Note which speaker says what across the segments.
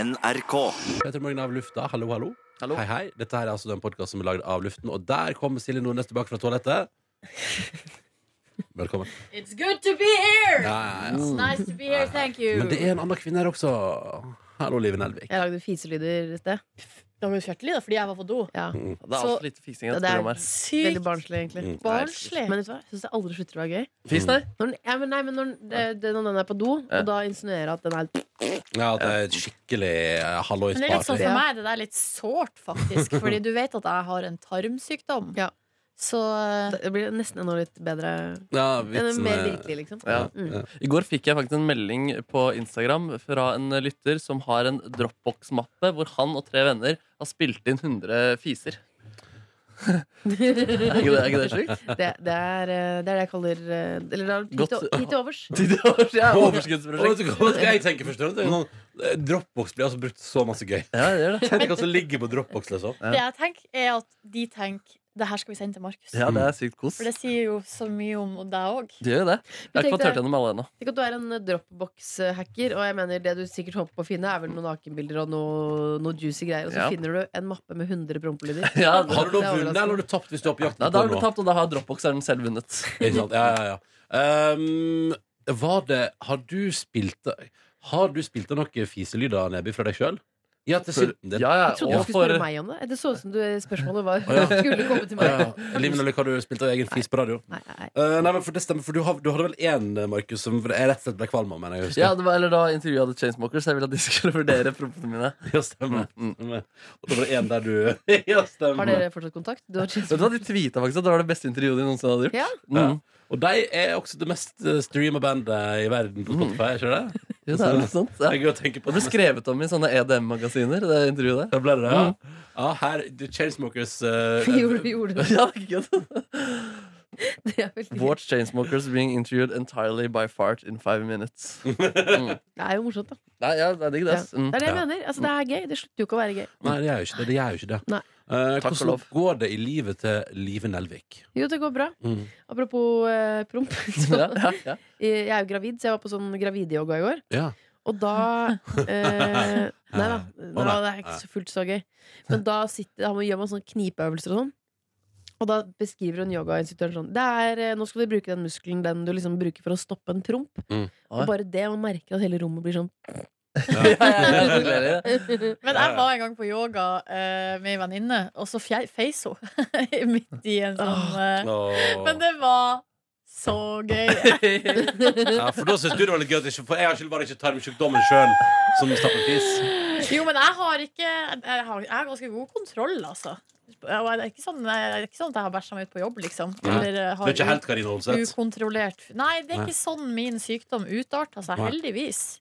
Speaker 1: NRK.
Speaker 2: Peter Morgen av lufta, hallo, hallo.
Speaker 3: Hallo.
Speaker 2: Hei, hei. Dette her er altså den podkasten som er lagd av luften, og der kommer Silje Nordnes tilbake fra toalettet. Velkommen.
Speaker 4: It's good to be here!
Speaker 2: Ja, ja, ja.
Speaker 4: It's nice to be here, thank you.
Speaker 2: Men det er en annen kvinne her også. Hallo, Live Nelvik.
Speaker 5: Jeg lagde fiselyder i sted.
Speaker 4: Ja, men fjertelig, da, fordi jeg var på do.
Speaker 5: Ja.
Speaker 3: Mm. Det er
Speaker 5: Så-
Speaker 3: altfor lite fising i dette
Speaker 5: det er-
Speaker 3: programmet.
Speaker 5: Veldig
Speaker 4: Sykt
Speaker 5: barnslig, egentlig.
Speaker 4: barnslig.
Speaker 5: Men vet du hva? jeg syns det aldri slutter å være gøy.
Speaker 3: her. Fis der?
Speaker 5: Når den, ja, men nei, men når den, det- det- når den er på do,
Speaker 3: Ja.
Speaker 5: og da insinuerer jeg at den er
Speaker 2: Ja, det er et skikkelig eh, hallois
Speaker 4: Men det er litt sånn
Speaker 2: party.
Speaker 4: for meg, det der er litt sårt, faktisk. Fordi du vet at jeg har en tarmsykdom.
Speaker 5: Ja.
Speaker 4: Så
Speaker 5: Det blir nesten enda litt bedre.
Speaker 4: sånn-
Speaker 2: Ja,
Speaker 5: Enn
Speaker 2: vitsen
Speaker 3: eh,
Speaker 5: mer
Speaker 2: er-
Speaker 5: virkelig, liksom.
Speaker 3: Ja.
Speaker 5: Mm.
Speaker 3: I går fikk jeg faktisk en melding på Instagram fra en lytter som har en Dropbox-mappe hvor han og tre venner har spilt inn 100 fiser. er, ikke det, er ikke det sjukt?
Speaker 5: Det, det, er, eh, det er det jeg kaller eh, Eller da, tid
Speaker 3: Godt.
Speaker 5: til- tid til overs.
Speaker 3: Tid til overs, ja,
Speaker 2: Og vet
Speaker 3: Overskuddsprosjekt.
Speaker 2: du hva hva jeg tenker først? Det er noen- eh, Dropbox blir altså brukt så masse gøy.
Speaker 3: Ja, det gjør det.
Speaker 2: Tenk hva som ligger på Dropbox, liksom.
Speaker 3: Ja.
Speaker 4: det jeg tenker, er at de tenker det her skal vi sende til Markus.
Speaker 3: Ja, det er sykt kos.
Speaker 4: For det sier jo så mye om deg òg.
Speaker 3: Det gjør jo det. Jeg har ikke fått hørt gjennom alle ennå.
Speaker 5: Tenk at du er en eh, dropbox-hacker, og jeg mener det du sikkert håper på å finne, er vel noen nakenbilder og noe, noe juicy greier, og så
Speaker 3: Ja.
Speaker 5: finner du en mappe med 100 prompelyder.
Speaker 3: Ja, det-
Speaker 2: Har du
Speaker 5: Det
Speaker 2: da
Speaker 5: er
Speaker 2: vunnet, eller har du tapt hvis du er på jakt
Speaker 3: Nei,
Speaker 2: etter
Speaker 3: da har du
Speaker 2: noe?
Speaker 3: tapt, og da har Dropboxeren selv vunnet.
Speaker 2: Ikke sant? Ja, ja, ja. Um, var det Har du spilt Har du spilt av noen fiselyder, Neby, fra deg sjøl? Ja, til synten din.
Speaker 3: Ja, ja,
Speaker 5: Jeg trodde du
Speaker 3: og
Speaker 5: skulle
Speaker 3: for
Speaker 5: spørre meg om det. Det så ut som du, spørsmålet var
Speaker 2: ja.
Speaker 5: skulle komme
Speaker 2: Ja,
Speaker 5: til meg.
Speaker 2: ja. Liv Nelvik, har du spilt av egen fis på radio?
Speaker 5: Nei, nei, nei.
Speaker 2: Eh, nei, men for det stemmer, for du, har, du hadde vel én, Markus, som jeg rett og slett ble kvalm av, mener jeg.
Speaker 3: ja,
Speaker 2: husker.
Speaker 3: det var, eller Da intervjua du Chainsmokers. Jeg ville at de skulle vurdere prompene mine.
Speaker 2: ja
Speaker 3: Mm.
Speaker 2: stemmer. stemmer. Og det var det én der du Ja,
Speaker 5: Har
Speaker 2: stemmer.
Speaker 5: dere fortsatt kontakt? Du har
Speaker 3: Vet du hva, De tweeta faktisk at det var det beste intervjuet de noensinne hadde gjort.
Speaker 5: ja,
Speaker 2: Ja.
Speaker 3: Mm.
Speaker 2: Og de er også det mest streama bandet i verden på
Speaker 3: Mm.
Speaker 2: Spotify, er ikke det?
Speaker 3: Jo, det er noe sånt.
Speaker 2: Det
Speaker 3: Ja.
Speaker 2: er gøy å tenke på.
Speaker 3: Det ble skrevet om i sånne EDM-magasiner, det intervjuet der.
Speaker 2: Det ble det, ja.
Speaker 3: Mm.
Speaker 2: ja her, The Chainsmokers eh,
Speaker 5: gjorde, gjorde du
Speaker 3: Ja, ikke sant?
Speaker 5: det? er veldig gøy.
Speaker 3: Watch Chainsmokers being interviewed entirely by fart in five minutes.
Speaker 5: Det er jo morsomt, da.
Speaker 3: Nei, ja, det er digg, det. ass. Mm.
Speaker 5: Det er det jeg
Speaker 2: Ja.
Speaker 5: mener. Altså, det er gøy. Det slutter jo ikke å være gøy.
Speaker 2: Nei, det gjør jo ikke det. det, gjør jo ikke det.
Speaker 5: Nei.
Speaker 2: Eh,
Speaker 3: Takk og
Speaker 2: hvordan
Speaker 3: lov.
Speaker 2: går det i livet til Live Nelvik?
Speaker 5: Jo, det går bra.
Speaker 2: Mm.
Speaker 5: Apropos eh, promp. Så,
Speaker 3: Ja, ja, ja.
Speaker 5: jeg er jo gravid, så jeg var på sånn gravidyoga i går.
Speaker 2: Ja.
Speaker 5: Og da eh, Nei da,
Speaker 2: Å,
Speaker 5: da,
Speaker 2: nei.
Speaker 5: det er ikke så fullt så gøy. Men da, sitter, da gjør man sånne knipeøvelser og sånn. Og da beskriver hun yogainstruktøren sånn det er, eh, Nå skal du bruke den muskelen den du liksom bruker for å stoppe en promp.
Speaker 2: Mm.
Speaker 5: Og bare det, man merker at hele rommet blir sånn
Speaker 3: Ja, ja, ja, det er det.
Speaker 4: Men jeg var en gang på yoga eh, med ei venninne, og så fje- feis hun midt i en sånn eh,
Speaker 2: Åh.
Speaker 4: Men det var så gøy.
Speaker 2: ja, for da syns du det var litt gøy, at ikke- for jeg har ikke bare ikke tarmsykdommen sjøl som stapper fis.
Speaker 4: Jo, men jeg har ikke Jeg har, jeg har ganske god kontroll, altså. Og Det er ikke sånn, det er ikke sånn at jeg har bæsja meg ut på jobb, liksom.
Speaker 2: Nei.
Speaker 4: Eller eh,
Speaker 2: Du er
Speaker 4: har
Speaker 2: ikke helt Karina Olseth.
Speaker 4: ukontrollert Nei, det er
Speaker 2: Nei.
Speaker 4: ikke sånn min sykdom utarta seg,
Speaker 2: Nei.
Speaker 4: heldigvis.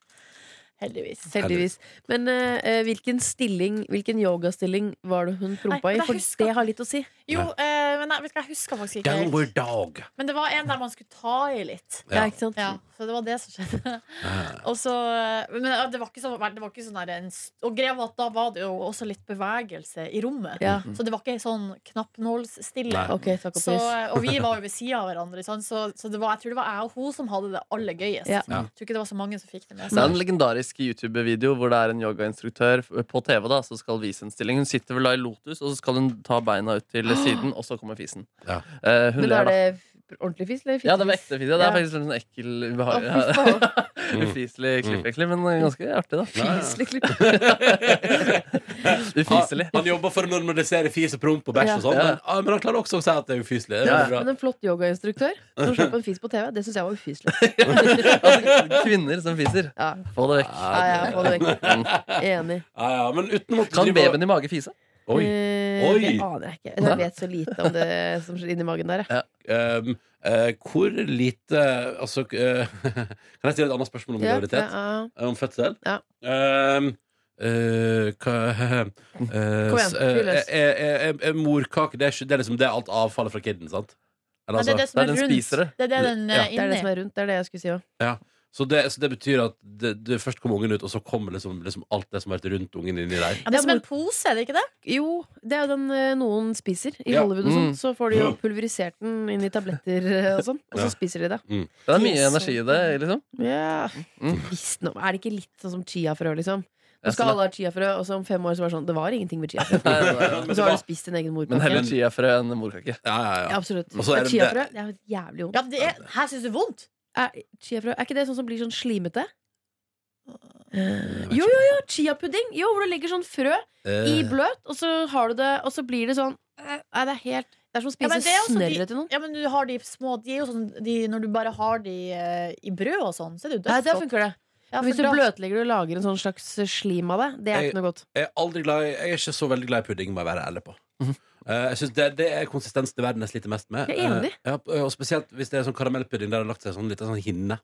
Speaker 4: Heldigvis.
Speaker 5: Heldigvis. Men eh, hvilken stilling Hvilken yogastilling var det hun prompa
Speaker 4: Nei,
Speaker 5: i?
Speaker 4: men jeg
Speaker 5: For
Speaker 4: husker-
Speaker 5: det har litt å si.
Speaker 4: Jo, eh, men jeg, vet ikke, jeg husker faktisk ikke
Speaker 2: Downward
Speaker 4: helt.
Speaker 2: dog.
Speaker 4: Men det var en der man skulle ta i litt.
Speaker 2: Ja.
Speaker 5: Ja, ikke sant?
Speaker 4: Ja, så det var det som skjedde. Og så, eh, men ja, det var ikke så, det var ikke sånn der en, s- Og greia var at da var det jo også litt bevegelse i rommet.
Speaker 5: Ja.
Speaker 4: Så det var ikke sånn knappnålsstille.
Speaker 2: Nei.
Speaker 5: Ok, takk og
Speaker 4: Så, eh,
Speaker 5: pris.
Speaker 4: og vi var jo ved sida av hverandre, sant? så, så det var, jeg tror det var jeg og hun som hadde det aller gøyest.
Speaker 5: Ja.
Speaker 2: Ja.
Speaker 4: Jeg tror ikke det var så mange som fikk det med
Speaker 3: Det er
Speaker 4: seg.
Speaker 3: en legendarisk YouTube-video hvor det er en yogainstruktør på TV da, som skal vise en stilling. Hun sitter vel da i Lotus, og så skal hun ta beina ut til siden, og så kommer fisen.
Speaker 2: Ja.
Speaker 3: Eh, hun
Speaker 5: Men
Speaker 3: ler,
Speaker 5: er
Speaker 3: da.
Speaker 5: det f- ordentlig fisk eller
Speaker 3: Ja, det var
Speaker 5: fittefis?
Speaker 3: ekte video. Det er
Speaker 5: Ja.
Speaker 3: faktisk en sånn ekkel, ubehagelig
Speaker 5: Å, fy faen.
Speaker 3: Ufiselig klipp, egentlig, men ganske artig, da.
Speaker 5: Fiselig klipp.
Speaker 3: Ufiselig.
Speaker 2: Han jobber for å normalisere fis og promp og bæsj og sånn,
Speaker 3: Ja.
Speaker 2: men, ah, men han klarer også å si at det er ufyselig. Det er
Speaker 3: Ja.
Speaker 2: veldig bra.
Speaker 5: Men en flott yogainstruktør som slapp en fis på TV, det syns jeg var ufyselig.
Speaker 3: Altså, kvinner som fiser.
Speaker 5: Ja.
Speaker 3: Få det vekk.
Speaker 5: Ja, ja, få det vekk. Enig.
Speaker 2: Ja, ja, men uten å måtte
Speaker 3: Kan
Speaker 2: drive-
Speaker 3: Mm. babyen i mage fise?
Speaker 2: Oi.
Speaker 5: Eh,
Speaker 2: Oi.
Speaker 5: Det aner jeg ikke. Jeg vet så lite om det som skjer inni magen der. jeg.
Speaker 2: Um, eh, hvor lite Altså eh, Kan jeg stille et annet spørsmål om
Speaker 5: Ja,
Speaker 2: graviditet?
Speaker 5: ja, ja.
Speaker 2: Eh, Om fødsel?
Speaker 5: Ja.
Speaker 2: Ehm, eh, hva- eh,
Speaker 5: Kom igjen,
Speaker 2: s- eh,
Speaker 5: fyr løs.
Speaker 2: eh, eh, eh, eh, Morkake, det er, ikke, det er liksom det er alt avfallet fra kiden, sant? Eller
Speaker 4: Nei, det
Speaker 2: altså-
Speaker 4: er det som
Speaker 3: det
Speaker 4: er
Speaker 3: er den
Speaker 4: rundt.
Speaker 3: spisere.
Speaker 4: Det er det den
Speaker 2: Ja.
Speaker 4: er
Speaker 5: Det er det som
Speaker 4: inni.
Speaker 5: er rundt. Det er det jeg skulle si òg.
Speaker 2: så, det, så det betyr at det, det først kommer ungen ut, og så kommer liksom, liksom alt det som har vært rundt ungen inni der.
Speaker 4: Ja, det er som en pose, er det ikke det?
Speaker 5: Jo, det er jo den eh, noen spiser i
Speaker 2: Ja.
Speaker 5: Hollywood og sånn.
Speaker 3: Mm.
Speaker 5: Så får de jo pulverisert den inn i tabletter eh, og sånn, og
Speaker 2: Ja.
Speaker 5: så spiser de det.
Speaker 3: Det er mye energi i det, liksom.
Speaker 5: Ja.
Speaker 3: Mm.
Speaker 5: Visst nå- Er det ikke litt sånn som chiafrø, liksom? Nå skal alle ha chiafrø, og så om fem år så var det sånn Det var ingenting med chiafrø.
Speaker 3: Nei, nei, nei.
Speaker 5: Og så har du spist din egen
Speaker 3: Men
Speaker 5: morkake.
Speaker 3: heller chiafrø enn morkake.
Speaker 2: Ja, ja,
Speaker 5: Ja,
Speaker 2: ja.
Speaker 5: absolutt.
Speaker 2: Og så er det-
Speaker 5: Chiafrø det er jævlig vondt.
Speaker 4: Ja, det er, her syns du vondt?
Speaker 5: Er, chiafrø, er ikke det sånn som blir sånn slimete? Jo, jo, jo! Chiapudding! Jo, hvor du legger sånn frø i
Speaker 2: Eh,
Speaker 5: bløt, og så har du det Og så blir det sånn Nei, det er helt Det er som å
Speaker 4: Ja,
Speaker 5: spise
Speaker 4: men det er også de-
Speaker 5: snørre til noen.
Speaker 4: Ja, men du har de små De er jo sånn de, Når du bare har de eh, i brød og sånn, så er det jo
Speaker 5: Nei, der
Speaker 4: dødsgodt.
Speaker 5: funker det.
Speaker 4: Ja,
Speaker 5: Men hvis
Speaker 4: for
Speaker 5: du
Speaker 4: da-
Speaker 5: bløtlegger og lager en sånn slags slim av det, det er
Speaker 2: Jeg-
Speaker 5: ikke noe godt.
Speaker 2: jeg, er aldri glad, i- jeg er ikke så veldig glad i pudding, må jeg være ærlig på.
Speaker 3: Mhm.
Speaker 2: Eh, jeg synes det, det er konsistensen i verden jeg sliter mest med.
Speaker 5: Jeg er enig.
Speaker 2: Eh, ja, og Spesielt hvis det er sånn karamellpudding der det har lagt seg sånn liten sånn hinne.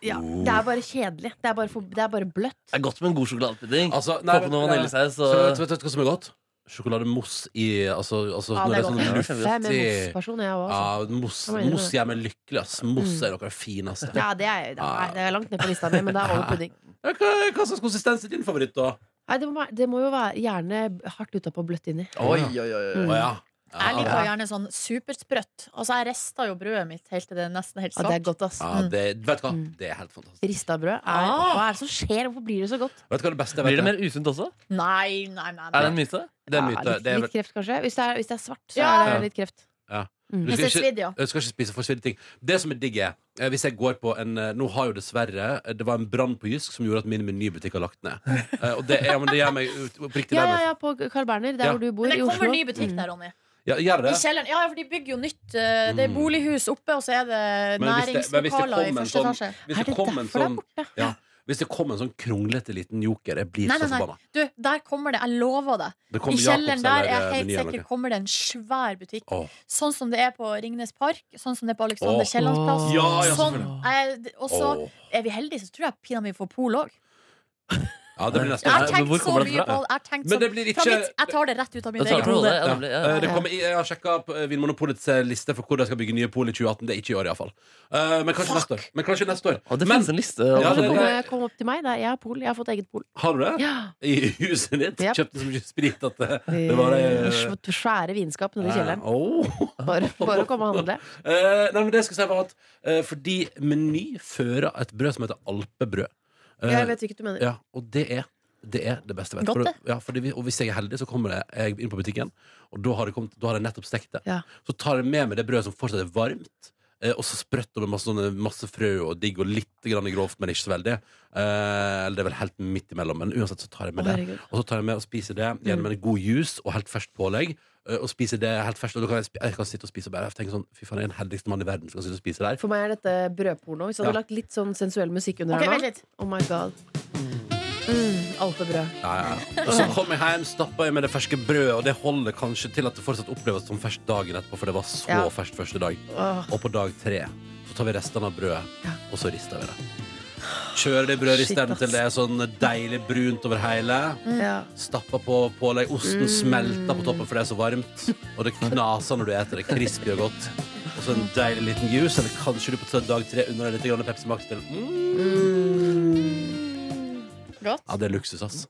Speaker 5: Ja, det er bare kjedelig. Det er bare, for, det er bare bløtt.
Speaker 3: Det er godt med en god
Speaker 5: Mm.
Speaker 3: sjokoladepudding.
Speaker 2: Altså,
Speaker 3: Få
Speaker 2: nei,
Speaker 3: på
Speaker 2: men-
Speaker 3: noe vaniljesaus.
Speaker 2: Så vet,
Speaker 3: og-
Speaker 2: vet, vet du hva som er godt? Sjokolademousse i Altså, altså
Speaker 4: Ja,
Speaker 2: når det er
Speaker 4: det er
Speaker 2: sånn
Speaker 3: godt.
Speaker 5: Jeg er med
Speaker 2: luftig
Speaker 5: mosseperson, jeg òg.
Speaker 2: ja, mousse,
Speaker 5: Jeg mener det.
Speaker 2: mousse gjør meg lykkelig, ass. Mousse er noe av det fineste.
Speaker 5: altså. Ja, det er, nei, det er langt ned på lista mi, men det er over pudding.
Speaker 2: Ja, Hva, hva slags konsistens er din favoritt, da?
Speaker 5: Nei, det, må, være- det må jo være gjerne hardt utapå og bløtt inni.
Speaker 3: Oi, oi, oi, oi.
Speaker 2: Å ja. Ja,
Speaker 4: Jeg liker
Speaker 2: ja.
Speaker 4: jo gjerne sånn supersprøtt. Altså, jeg rista jo brødet mitt helt til det er nesten helt
Speaker 5: Ja,
Speaker 4: svart.
Speaker 5: det er godt, ass.
Speaker 2: Ja, det, vet du hva?
Speaker 5: Mm.
Speaker 2: Det er helt fantastisk.
Speaker 5: Rista brød. Er,
Speaker 4: Ah.
Speaker 5: Hva er det som skjer? Hvorfor blir det så godt?
Speaker 2: Vet du hva det beste
Speaker 3: Blir
Speaker 2: jeg
Speaker 3: det
Speaker 2: vet?
Speaker 3: mer usunt også?
Speaker 4: Nei, nei, nei.
Speaker 3: Er det
Speaker 4: nei.
Speaker 3: en myte?
Speaker 2: Det er en
Speaker 5: Ja,
Speaker 2: myte.
Speaker 5: litt,
Speaker 2: Det er,
Speaker 5: litt kreft, kanskje. Hvis det er, hvis det er svart, så
Speaker 4: Ja.
Speaker 5: er
Speaker 2: Ja.
Speaker 5: det litt kreft.
Speaker 2: Ja.
Speaker 5: Mm.
Speaker 2: Du
Speaker 4: Jeg
Speaker 2: skal
Speaker 4: ser
Speaker 2: ikke,
Speaker 4: svidd, ja.
Speaker 2: du skal ikke spise forsvidde ting. Det som er digg, er eh, hvis jeg går på en eh, Nå har jo dessverre eh, Det var en brann på Jysk som gjorde at min menybutikk har lagt ned. Eh, Og det, er, men det gjør meg ut- oppriktig
Speaker 5: Ja,
Speaker 2: lei
Speaker 5: ja,
Speaker 2: meg.
Speaker 5: ja, på Carl Berner, der
Speaker 2: Ja.
Speaker 5: hvor du bor
Speaker 4: Men det
Speaker 5: i Oslo.
Speaker 4: kommer ny butikk
Speaker 5: Mm.
Speaker 4: der, Ronny.
Speaker 2: Ja, gjør
Speaker 4: I
Speaker 2: det?
Speaker 4: kjelleren. Ja, ja, for de bygger jo nytt. eh, Det er
Speaker 2: Mm.
Speaker 4: bolighus oppe, og så er det
Speaker 2: Men hvis det- men hvis det
Speaker 4: næringslokaler i
Speaker 2: kom en
Speaker 4: første
Speaker 2: sånn-
Speaker 4: etasje.
Speaker 2: Hvis
Speaker 5: Er
Speaker 2: det
Speaker 5: det
Speaker 2: kom en
Speaker 5: derfor det er
Speaker 2: sånn ja, Hvis det kom en sånn kronglete liten joker, jeg blir
Speaker 4: Nei,
Speaker 2: så
Speaker 4: nei, nei.
Speaker 3: altså,
Speaker 2: forbanna.
Speaker 4: Du, der kommer det. Jeg lover det.
Speaker 2: Det
Speaker 4: I
Speaker 2: kom
Speaker 4: kjelleren
Speaker 2: Jacobs
Speaker 4: der
Speaker 2: eller,
Speaker 4: er
Speaker 2: eh,
Speaker 4: jeg helt
Speaker 2: Meny eller
Speaker 4: sikker
Speaker 2: noe.
Speaker 4: kommer det en svær butikk.
Speaker 2: Åh.
Speaker 4: Sånn som det er på Ringnes Park, sånn som det er på Alexander
Speaker 2: Åh.
Speaker 4: Kiellands plass.
Speaker 2: Ja, ja,
Speaker 4: Sånn,
Speaker 3: selvfølgelig.
Speaker 4: jeg- Og så
Speaker 2: Åh.
Speaker 4: er vi heldige, så tror jeg pinadø vi får pol òg.
Speaker 2: Ja, det blir
Speaker 3: Nei.
Speaker 2: neste
Speaker 4: Jeg har
Speaker 2: gang.
Speaker 3: men hvor
Speaker 4: tenkt så
Speaker 3: kommer det
Speaker 4: mye
Speaker 3: fra?
Speaker 4: på jeg har tenkt
Speaker 2: Men
Speaker 4: så-
Speaker 2: det blir
Speaker 4: fra
Speaker 2: ikke-
Speaker 4: mitt- Jeg tar det rett ut av mitt
Speaker 3: Jeg tar
Speaker 4: eget
Speaker 3: det på hodet.
Speaker 4: hode.
Speaker 3: Ja, det blir- ja.
Speaker 2: Eh, det kommer, jeg har sjekka opp, eh, Vinmonopolets eh, liste for hvor de skal bygge nye pol i 2018. Det er ikke i år, iallfall. Uh, men, kanskje
Speaker 4: Fuck.
Speaker 2: neste år. men kanskje neste år.
Speaker 3: Å, det
Speaker 2: Men-
Speaker 3: finnes en liste.
Speaker 5: Ja,
Speaker 2: Ja,
Speaker 5: så
Speaker 2: det-
Speaker 5: kom,
Speaker 2: det-
Speaker 5: kom opp til meg. Der. Jeg har pol. Jeg har fått eget pol.
Speaker 2: Har du det?
Speaker 5: Ja.
Speaker 2: I huset ditt?
Speaker 5: Yep.
Speaker 2: Kjøpte så mye sprit at det, det var det
Speaker 5: Eh, sv- Svære vinskap nede i kjelleren.
Speaker 2: Åh.
Speaker 5: Bare, bare å komme og handle.
Speaker 2: Eh, nei, men det jeg skulle si var at eh, Fordi Meny fører et brød som heter alpebrød. Eh,
Speaker 5: Jeg vet ikke hva du mener.
Speaker 2: ja, og det er det er det beste jeg vet.
Speaker 4: Godt,
Speaker 2: For-
Speaker 4: det.
Speaker 2: ja, fordi vi, og hvis jeg er heldig, så kommer jeg- jeg inn på butikken, og da har, det kommet, da har jeg nettopp stekt det.
Speaker 5: Ja.
Speaker 2: Så tar jeg med meg det brødet som fortsatt er varmt, eh, og så sprøtt og med masse, sånne, masse frø og digg og litt grann grovt, men ikke så veldig. Eh, eller det er vel helt midt imellom, men uansett så tar jeg med
Speaker 5: Å,
Speaker 2: det.
Speaker 5: herregud. Mm.
Speaker 2: Og så tar jeg med og spiser det gjennom en god juice og helt ferskt pålegg. ø, Og spiser det helt ferskt Og da kan jeg, spi- jeg kan sitte og spise og bare tenke sånn Fy faen, jeg er den heldigste mannen i verden som kan sitte og spise der.
Speaker 5: For meg er dette brødporno. Hvis jeg hadde
Speaker 2: Ja.
Speaker 5: lagt litt sånn sensuell musikk under
Speaker 4: Ok,
Speaker 5: her
Speaker 4: vent
Speaker 5: nå
Speaker 4: litt.
Speaker 5: Oh my god. Mm,
Speaker 2: Ja,
Speaker 5: Alpebrød.
Speaker 2: ja, ja. Og så kom jeg hjem, stappa i meg det ferske brødet, og det holder kanskje til at det fortsatt oppleves som ferskt dagen etterpå, for det var så
Speaker 5: Ja.
Speaker 2: ferskt første dag.
Speaker 5: Åh.
Speaker 2: Og på dag tre så tar vi restene av brødet,
Speaker 5: Ja.
Speaker 2: og så rister vi det. Kjører det i
Speaker 5: Shit,
Speaker 2: brødristeren
Speaker 5: ass.
Speaker 2: til det er sånn deilig brunt over hele.
Speaker 5: Ja.
Speaker 2: Stappa på pålegg.
Speaker 5: Mm.
Speaker 2: Osten smelter på toppen, for det er så varmt. Og det knaser når du eter det. Crispy og godt. Og så en deilig liten juice, eller kanskje du på dag tre unner deg litt grann Pepsi Max til. Mm.
Speaker 5: Mm.
Speaker 4: Godt.
Speaker 2: Ja, det er luksus, ass.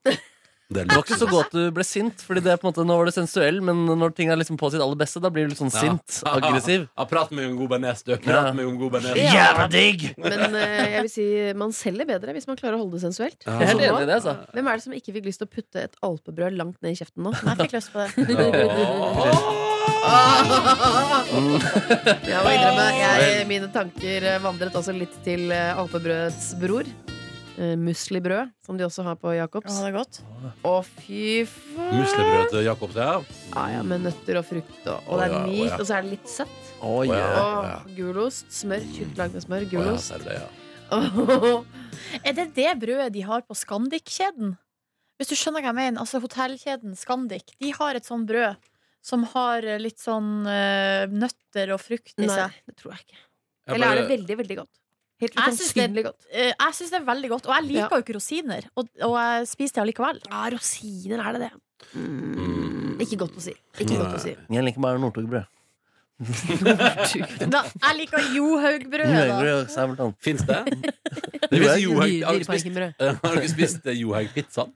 Speaker 2: Det er
Speaker 3: Det var ikke
Speaker 2: luksus.
Speaker 3: så godt du ble sint, Fordi det er på en måte, nå var du sensuell, men når ting er liksom på sitt aller beste, da blir du litt sånn sint.
Speaker 2: Ja.
Speaker 3: Aggressiv.
Speaker 2: Ja, prat med en god bearnés, du. Prat med en god bearnés.
Speaker 5: Ja.
Speaker 3: Jævla digg!
Speaker 5: Men eh, jeg vil si man selger bedre hvis man klarer å holde det sensuelt.
Speaker 2: Ja.
Speaker 3: Jeg er helt
Speaker 5: Så nå-
Speaker 3: enig i det, altså.
Speaker 5: Hvem er det som ikke fikk lyst til å putte et alpebrød langt ned i kjeften nå?
Speaker 4: Jeg fikk lyst på det.
Speaker 5: Jeg må innrømme, jeg, mine tanker eh, vandret også litt til eh, alpebrødets bror. Eh, Muslibrød, som de også har på
Speaker 4: Ja,
Speaker 5: Jacobs.
Speaker 4: det er godt.
Speaker 5: Å, fy faen!
Speaker 2: Muslebrød til Jacobs, ja.
Speaker 5: Ja, ja, med nøtter og frukt, og, og
Speaker 2: Å,
Speaker 5: det er
Speaker 2: ja, å,
Speaker 5: mykt,
Speaker 2: ja.
Speaker 5: og så er det litt søtt.
Speaker 3: Oi,
Speaker 2: Å, ja.
Speaker 3: ja.
Speaker 5: Og gulost. Smør. Tjukt lag med
Speaker 2: Å,
Speaker 5: smør.
Speaker 2: ja,
Speaker 5: Gulost.
Speaker 2: ser du det, ja.
Speaker 4: Er det det brødet de har på Scandic-kjeden? Hvis du skjønner hva jeg mener, altså hotellkjeden Scandic, de har et sånn brød som har eh, litt sånn eh, nøtter og frukt i
Speaker 5: Nei,
Speaker 4: seg.
Speaker 5: det tror jeg ikke.
Speaker 2: Jeg
Speaker 5: Eller er
Speaker 2: bare-
Speaker 5: det veldig, veldig godt? Helt
Speaker 4: Jeg synes det-
Speaker 5: usannsynlig godt.
Speaker 4: Eh, Jeg syns det er veldig godt, og jeg liker
Speaker 5: Ja.
Speaker 4: jo ikke rosiner, og, og jeg spiser det allikevel.
Speaker 5: Ja, rosiner er det det.
Speaker 2: Mm.
Speaker 5: Ikke godt å si. Ikke godt å si.
Speaker 3: Jeg liker bare Northug-brød.
Speaker 4: Da, jeg liker Johaug-brødet. da.
Speaker 3: Northug-brød, sabeltann.
Speaker 2: Fins det? Det
Speaker 3: Johaug-
Speaker 2: finnes Johaug. Har du spist-
Speaker 5: Dyreparkenbrød.
Speaker 2: Har dere spist eh, Johaug-pizzaen?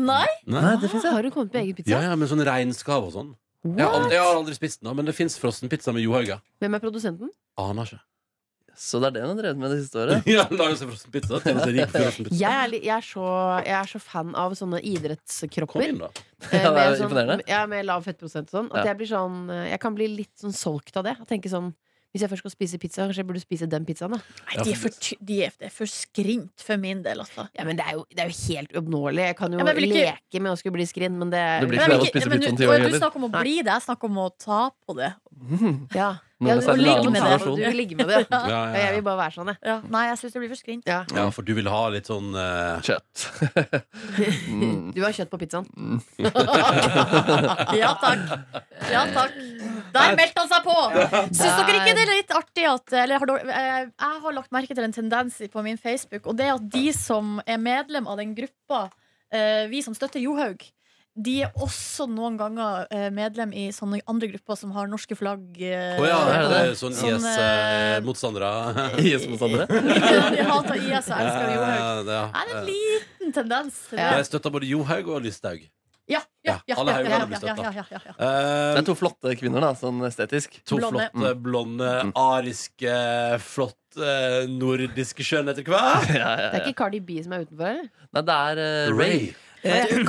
Speaker 4: Nei?
Speaker 3: Nei, det fins, ja.
Speaker 5: Har hun kommet på egen pizza?
Speaker 2: Ja, ja, med sånn reinskav og sånn. Jeg har aldri, jeg har aldri spist den, men det fins frossenpizza med Johaug. ja.
Speaker 5: Hvem er produsenten?
Speaker 2: Aner ikke.
Speaker 3: Så det er det hun har drevet med det siste året.
Speaker 2: Ja, lager seg frossenpizza. Tjener seg rik på frossenpizza.
Speaker 5: Jeg er, litt- jeg, er så, jeg er så fan av sånne
Speaker 2: Kom
Speaker 5: idrettskropper.
Speaker 2: inn, da.
Speaker 5: eh,
Speaker 3: Ja, det
Speaker 5: med,
Speaker 3: er imponerende.
Speaker 5: sånn, ja, med lav fettprosent og sånn. At
Speaker 3: Ja.
Speaker 5: jeg, blir sånn, eh, jeg kan bli litt sånn solgt av det. Jeg tenker sånn hvis jeg først skal spise pizza, kanskje jeg burde spise den pizzaen. Da.
Speaker 4: Nei, de er for, ty- de er, det er for skrint for min del, altså.
Speaker 5: Ja, men det er, jo, det er jo helt uoppnåelig. Jeg kan jo
Speaker 4: Ja, men jeg vil ikke-
Speaker 5: leke med å skulle bli skrinn, men det,
Speaker 3: Det blir
Speaker 4: Men
Speaker 3: ikke lov å
Speaker 4: jeg vil
Speaker 3: spise
Speaker 4: men
Speaker 3: pizzaen
Speaker 4: du-
Speaker 3: til Jorgen
Speaker 4: Du
Speaker 3: heller.
Speaker 4: snakker om å bli det, jeg snakker om å ta på det.
Speaker 5: ja.
Speaker 3: Noen
Speaker 5: Ja,
Speaker 3: er
Speaker 5: du,
Speaker 3: særlig
Speaker 5: vil
Speaker 3: lave
Speaker 5: ligge med det.
Speaker 3: konsentrasjon.
Speaker 5: du vil ligge med det.
Speaker 2: Ja,
Speaker 5: Og
Speaker 2: ja,
Speaker 5: jeg
Speaker 2: ja.
Speaker 5: vil bare være sånn, jeg.
Speaker 4: Ja, nei, jeg syns det blir for skrint.
Speaker 5: Ja.
Speaker 2: ja, for du vil ha litt sånn eh,
Speaker 3: Kjøtt. mm.
Speaker 5: Du har kjøtt på pizzaen.
Speaker 4: Ja takk. Ja takk. Der meldte han seg på! Syns dere ikke det er litt artig at eller, har dere, eh, Jeg har lagt merke til en tendens på min Facebook, og det er at de som er medlem av den gruppa, eh, vi som støtter Johaug, de er også noen ganger eh, medlem i sånne andre grupper som har norske flagg. eh,
Speaker 2: Å ja,
Speaker 3: er
Speaker 2: det
Speaker 3: det
Speaker 2: er sånn
Speaker 4: Sånn, eh,
Speaker 2: IS-motstandere.
Speaker 3: IS mot andre.
Speaker 4: de hater IS og elsker Johaug.
Speaker 2: ja.
Speaker 4: Det er en liten tendens til
Speaker 2: Ja,
Speaker 4: det.
Speaker 2: Jeg støtter både Johaug og Lysthaug.
Speaker 4: Ja, ja, ja,
Speaker 2: Ja, alle
Speaker 4: ja,
Speaker 2: haugene
Speaker 4: ja,
Speaker 2: blir
Speaker 4: ja,
Speaker 2: støttet.
Speaker 4: ja, ja, ja, ja.
Speaker 2: Eh,
Speaker 3: Det er to flotte kvinner, da, sånn estetisk. Mm,
Speaker 2: to
Speaker 4: blonde.
Speaker 2: flotte, blonde, ariske, flotte, nordiske skjønnheter hver.
Speaker 3: Ja, ja,
Speaker 5: Det er
Speaker 1: Eh.
Speaker 3: ja.
Speaker 5: ikke Cardi B som er utenfor her?
Speaker 3: Nei, det er eh, Ray.
Speaker 4: Du,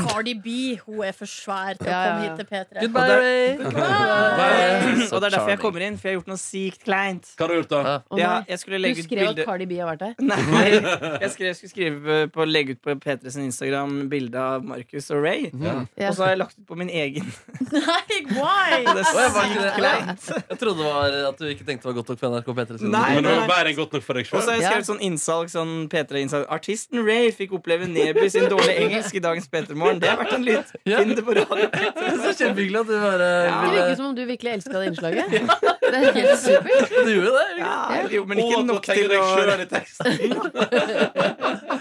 Speaker 4: Cardi B, hun er for svær til å
Speaker 5: Ja, ja,
Speaker 4: komme
Speaker 5: ja.
Speaker 4: hit til P3.
Speaker 3: Goodbye, Ray.
Speaker 1: Hva-
Speaker 3: Så
Speaker 1: Og det er derfor jeg
Speaker 3: charming.
Speaker 1: kommer inn, for jeg har gjort noe sykt kleint.
Speaker 2: Hva har du gjort, da?
Speaker 3: Ja.
Speaker 5: Å,
Speaker 1: Ja,
Speaker 5: nei.
Speaker 1: jeg skulle
Speaker 5: Du
Speaker 1: legge ut
Speaker 5: skrev at
Speaker 1: bilde
Speaker 5: Cardi B har vært her.
Speaker 1: Nei, jeg, skrev, jeg skulle skrive på, legge ut på P3 sin Instagram bilde av Markus og Ray.
Speaker 3: Mm.
Speaker 5: Ja.
Speaker 1: Og så har jeg lagt ut på min egen.
Speaker 4: Nei,
Speaker 1: Og det
Speaker 4: why?
Speaker 1: er
Speaker 3: Åh, jeg var
Speaker 1: sykt
Speaker 3: ikke
Speaker 1: kleint.
Speaker 3: Jeg trodde det var at du ikke tenkte det var godt nok for NRK P3. sin.
Speaker 1: Nei.
Speaker 2: Men det var bedre enn godt nok for deg
Speaker 1: Og
Speaker 2: sjøl.
Speaker 1: så har jeg skrevet sånn innsalg sånn P3-innsalg. Artisten Ray fikk oppleve Neby sin dårlige engelsk i dagens P3-morgen. Det har vært en lyd.
Speaker 3: Ja.
Speaker 1: Finn det på radio.
Speaker 3: Det er så kjempehyggelig at du bare
Speaker 1: Ja.
Speaker 5: Det
Speaker 3: ville
Speaker 5: virker som om du virkelig elska det innslaget. Det er helt supert.
Speaker 3: Du gjorde det? eller?
Speaker 1: Ja, jo, men
Speaker 2: Og
Speaker 1: ikke
Speaker 2: at du
Speaker 1: nok
Speaker 2: tenker
Speaker 1: til å
Speaker 2: deg selv i teksten.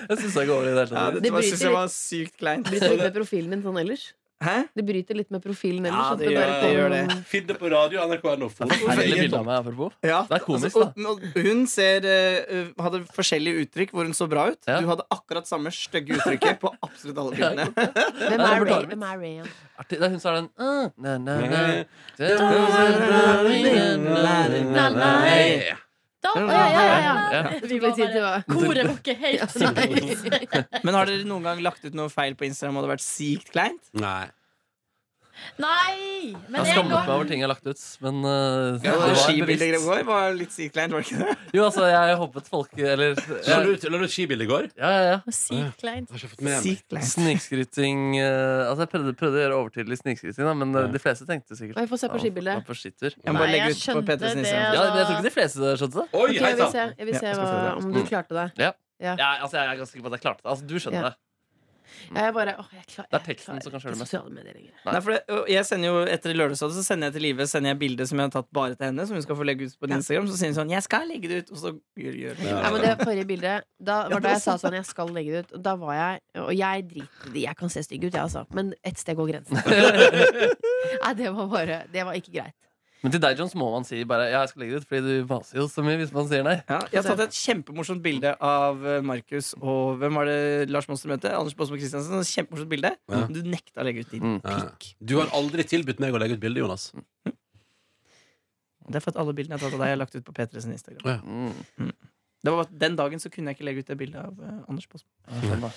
Speaker 3: Jeg syns det går over i det hele
Speaker 1: ja,
Speaker 3: tatt.
Speaker 1: Dette
Speaker 5: Det
Speaker 1: var,
Speaker 5: bryter
Speaker 1: synes jeg var sykt kleint.
Speaker 5: Bryter litt med profilen din sånn ellers.
Speaker 1: Hæ?
Speaker 5: Det bryter litt med profilen ellers.
Speaker 1: Ja,
Speaker 5: at
Speaker 1: det
Speaker 5: det
Speaker 1: gjør
Speaker 5: bare
Speaker 1: det, det
Speaker 5: kommer
Speaker 1: gjør det.
Speaker 5: noen-
Speaker 2: Finn det på radio NRK.no.
Speaker 3: Herlig bilde av meg, apropos.
Speaker 1: Ja.
Speaker 3: Det er komisk,
Speaker 1: altså, og, og hun ser, eh, hadde forskjellige uttrykk hvor hun så bra ut.
Speaker 3: Ja.
Speaker 1: Du hadde akkurat samme stygge uttrykket på absolutt alle
Speaker 3: Ja,
Speaker 1: bildene.
Speaker 5: Hvem
Speaker 3: Ja, det
Speaker 5: er
Speaker 3: er
Speaker 5: Ray?
Speaker 3: forklaringen
Speaker 5: Hvem er Ray? igjen?
Speaker 3: Artig. Det er hun som er den ah, na, na, na.
Speaker 1: Nei.
Speaker 4: Da, ja,
Speaker 5: Ja,
Speaker 4: ja,
Speaker 5: ja,
Speaker 4: ja, ja.
Speaker 3: Ja.
Speaker 5: Det
Speaker 4: Vi
Speaker 5: tok
Speaker 4: var
Speaker 5: litt tid til
Speaker 4: bare,
Speaker 5: å
Speaker 4: koret var ikke helt synkronisk.
Speaker 1: Men har dere noen gang lagt ut noe feil på Instagram og det har vært sykt kleint?
Speaker 2: Nei.
Speaker 4: Nei!
Speaker 3: Jeg
Speaker 4: Men
Speaker 3: har
Speaker 4: en
Speaker 3: skammet meg
Speaker 4: gang
Speaker 3: over ting jeg har lagt ut. Men eh, det
Speaker 1: Ja,
Speaker 3: var
Speaker 1: Skibildet i
Speaker 3: bevisst.
Speaker 1: går var litt sykt kleint, var det ikke det?
Speaker 3: Jo, altså, jeg håpet folk Eller
Speaker 2: La
Speaker 3: ja,
Speaker 2: du ut la du ut skibilde i går?
Speaker 3: ja, ja.
Speaker 4: Sykt kleint.
Speaker 2: Jeg har ikke fått med meg.
Speaker 1: Sykt kleint.
Speaker 3: Snikskryting eh, Altså, jeg prøvde, prøvde å gjøre overtydelig snikskryting, da, men eh, de fleste tenkte sikkert
Speaker 5: Nei, Få se på
Speaker 3: Han
Speaker 5: skibildet. Altså-
Speaker 3: var på skittur.
Speaker 1: Jeg må
Speaker 4: Nei,
Speaker 1: bare legge
Speaker 4: jeg
Speaker 1: ut på Petters
Speaker 4: skjønte
Speaker 1: Instagram.
Speaker 4: det.
Speaker 3: Ja, men jeg tror ikke de fleste skjønte det.
Speaker 2: Oi,
Speaker 5: Ok,
Speaker 2: hei
Speaker 5: jeg vil
Speaker 2: sann!
Speaker 5: se, jeg vil
Speaker 1: Ja,
Speaker 5: se
Speaker 1: jeg skal
Speaker 5: hva,
Speaker 1: følge deg.
Speaker 5: om du
Speaker 3: Mm.
Speaker 5: klarte det.
Speaker 3: Ja, altså, jeg er ganske sikker på at jeg klarte det. Altså, du skjønner
Speaker 5: Ja.
Speaker 3: det.
Speaker 1: Mm.
Speaker 5: Jeg bare, åh, jeg klarer,
Speaker 3: Det er teksten som kan skjøle mest.
Speaker 5: mest.
Speaker 1: Nei, for det, og jeg sender jo Etter Lørdagsrådet så sender jeg til Live sender jeg bilder som jeg har tatt bare til henne. Som hun skal få legge ut på Instagram Så sier hun sånn 'Jeg skal legge det ut.' Og så gjør gjør hun
Speaker 5: Nei,
Speaker 1: det.
Speaker 5: men det forrige bildet Da
Speaker 1: Ja,
Speaker 5: var
Speaker 1: det
Speaker 5: da
Speaker 1: var
Speaker 5: jeg sa sånn Jeg skal legge det ut. Og Da var jeg Og jeg driter i det. Jeg kan se stygg ut, jeg, altså. Men ett sted går grensen. Nei, det var bare Det var ikke greit.
Speaker 3: Men til deg, Jones, må man si bare Ja, jeg skal legge det ut, fordi du vaser jo så mye hvis man sier nei.
Speaker 1: Ja, jeg har tatt et kjempemorsomt bilde av eh, Markus og hvem var det Lars Monster møtte? Anders Baasmo Christiansen. et Kjempemorsomt bilde.
Speaker 2: Ja.
Speaker 1: Du nekta å legge ut din
Speaker 3: Mm.
Speaker 1: pikk.
Speaker 2: Du har aldri tilbudt meg å legge ut bilde, Jonas.
Speaker 1: Det er for at alle bildene jeg har tatt av deg, jeg har lagt ut på P3 sin Instagram.
Speaker 3: Mm.
Speaker 1: Det var bare, den dagen så kunne jeg ikke legge ut det bildet av eh, Anders Baasmo.
Speaker 3: Ja, sånn, da.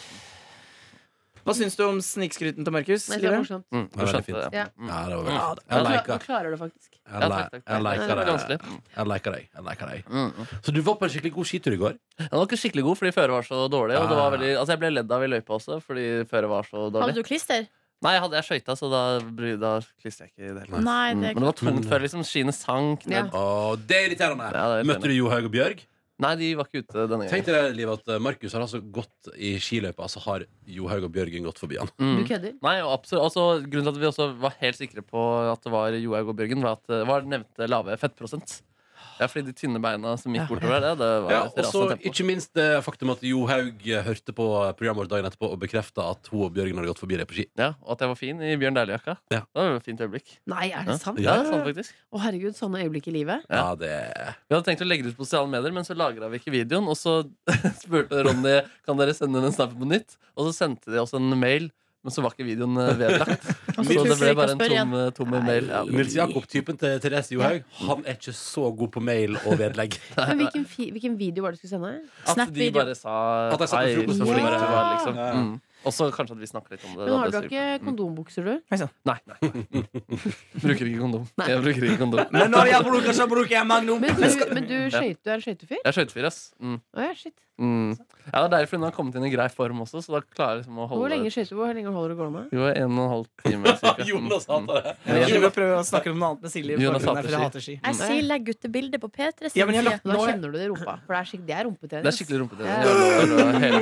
Speaker 1: Hva syns du om snikskryten til Markus?
Speaker 5: Men jeg tror det
Speaker 1: Live?
Speaker 5: er morsomt.
Speaker 3: Mm. Du
Speaker 2: Det var veldig
Speaker 3: skjønte
Speaker 2: fint.
Speaker 3: det.
Speaker 5: Ja.
Speaker 3: Mm.
Speaker 2: Ja, det var veldig fint. Jeg
Speaker 3: Ja,
Speaker 5: Nå klar- nå
Speaker 2: liker
Speaker 5: klarer du det faktisk.
Speaker 3: Ja,
Speaker 2: jeg
Speaker 3: takk,
Speaker 2: li-
Speaker 3: takk,
Speaker 2: jeg
Speaker 3: takk.
Speaker 5: liker
Speaker 3: Det var
Speaker 2: liker
Speaker 3: vanskelig.
Speaker 2: deg. Jeg liker deg. Jeg liker deg.
Speaker 3: Mm. Mm.
Speaker 2: Så du var på en skikkelig god skitur i går?
Speaker 3: Den var ikke skikkelig god, fordi føret var så dårlig. Og det var veldig, altså, jeg ble ledd av i løypa også, fordi føret var så
Speaker 4: Hadde
Speaker 3: dårlig.
Speaker 4: du klister?
Speaker 3: Nei, jeg hadde jeg skøyta, så da, bry- da klistret jeg ikke i det hele tatt.
Speaker 4: Nei,
Speaker 3: Mm.
Speaker 4: det
Speaker 3: Men det var tungt
Speaker 2: Men-
Speaker 3: før liksom, skiene sank
Speaker 5: Ja.
Speaker 3: ned.
Speaker 2: Å, det er irriterende!
Speaker 3: Ja, det er irriterende.
Speaker 2: Møtte du Johaug og Bjørg?
Speaker 3: Nei, de var ikke ute denne
Speaker 2: Tenk
Speaker 3: gangen.
Speaker 2: deg det, Liv, at eh, Markus har altså gått i skiløypa, så har Johaug og Bjørgen gått forbi han.
Speaker 5: Du
Speaker 3: Mm.
Speaker 5: kødder.
Speaker 3: Nei, og absolutt, altså, Grunnen til at vi også var helt sikre på at det var Johaug og Bjørgen, var at det var nevnte lave fettprosent. Ja, fordi de tynne beina som gikk bortover der, det, det var
Speaker 2: Ja, og
Speaker 3: et
Speaker 2: så
Speaker 3: rasende tempo.
Speaker 2: ikke minst det faktum at Johaug eh, hørte på programmet vårt dagen etterpå og bekrefta at hun og Bjørgen hadde gått forbi deg på ski.
Speaker 3: Ja, Og at jeg var fin i Bjørn Dæhlie-jakka.
Speaker 2: Ja.
Speaker 3: Det var jo et fint øyeblikk.
Speaker 5: Nei, er det sant?
Speaker 3: Ja, sånn faktisk
Speaker 5: Å, herregud, sånne øyeblikk i livet.
Speaker 2: Ja,
Speaker 3: Ja.
Speaker 2: det
Speaker 3: Vi hadde tenkt å legge det ut på sosiale medier, men så lagra vi ikke videoen. Og så spurte Ronny Kan dere sende inn en snap på nytt. Og så sendte de oss en mail Men så var ikke videoen eh, vedlagt.
Speaker 4: Og
Speaker 3: Så
Speaker 4: turte
Speaker 3: det
Speaker 4: de
Speaker 3: ble
Speaker 4: ikke å
Speaker 3: bare en
Speaker 4: spørre igjen.
Speaker 3: tom, eh, tom mail. Ja.
Speaker 2: Nils Jakob, typen til Therese Johaug, han er ikke så god på mail og vedlegg.
Speaker 5: Men hvilken, fi, hvilken video var det du skulle sende?
Speaker 3: At de
Speaker 4: Snap-video.
Speaker 3: bare sa
Speaker 2: At jeg satt på
Speaker 3: hei,
Speaker 2: frokost
Speaker 3: så
Speaker 2: og
Speaker 3: flink
Speaker 5: bare-
Speaker 3: du var, liksom.
Speaker 2: Ja.
Speaker 3: Mm. Og så kanskje at vi snakker litt om det.
Speaker 5: Men
Speaker 3: da,
Speaker 5: har du
Speaker 3: det er
Speaker 5: ikke
Speaker 3: supert. Mm.
Speaker 5: kondombukser, du?
Speaker 3: Nei, nei, nei. Bruker ikke kondom.
Speaker 5: Nei.
Speaker 3: Jeg bruker ikke kondom.
Speaker 1: Men når jeg bruker, så bruker jeg Magnum.
Speaker 5: Men du, men du,
Speaker 3: Ja.
Speaker 5: skøyt, du er en skøytefyr?
Speaker 3: Jeg er skøytefyr, ass. Mm.
Speaker 5: Å ja, shit.
Speaker 3: Mm. Ja, det er derfor hun har kommet inn i grei form også, så da klarer jeg liksom å holde
Speaker 5: Hvor lenge skøyter du? Hvor lenge holder du gården med?
Speaker 3: Jo, en og en halv time. cirka.
Speaker 2: Jonas hater det.
Speaker 1: Jeg driver og prøver å snakke om noe annet med Silje, i
Speaker 3: Jonas
Speaker 1: bakgrunnen her,
Speaker 3: hater
Speaker 1: for
Speaker 3: ski.
Speaker 1: jeg hater ski.
Speaker 4: Jeg sier legg ut det bildet på P3.
Speaker 1: Ja, men
Speaker 4: sier
Speaker 1: jeg
Speaker 4: jeg.
Speaker 1: lagt-
Speaker 5: Da
Speaker 1: Nå er-
Speaker 5: kjenner du det i rumpa. For det er, skik- det er rumpetrening.
Speaker 3: Det er
Speaker 5: ass.
Speaker 3: skikkelig rumpete.
Speaker 5: Ja.
Speaker 3: Hele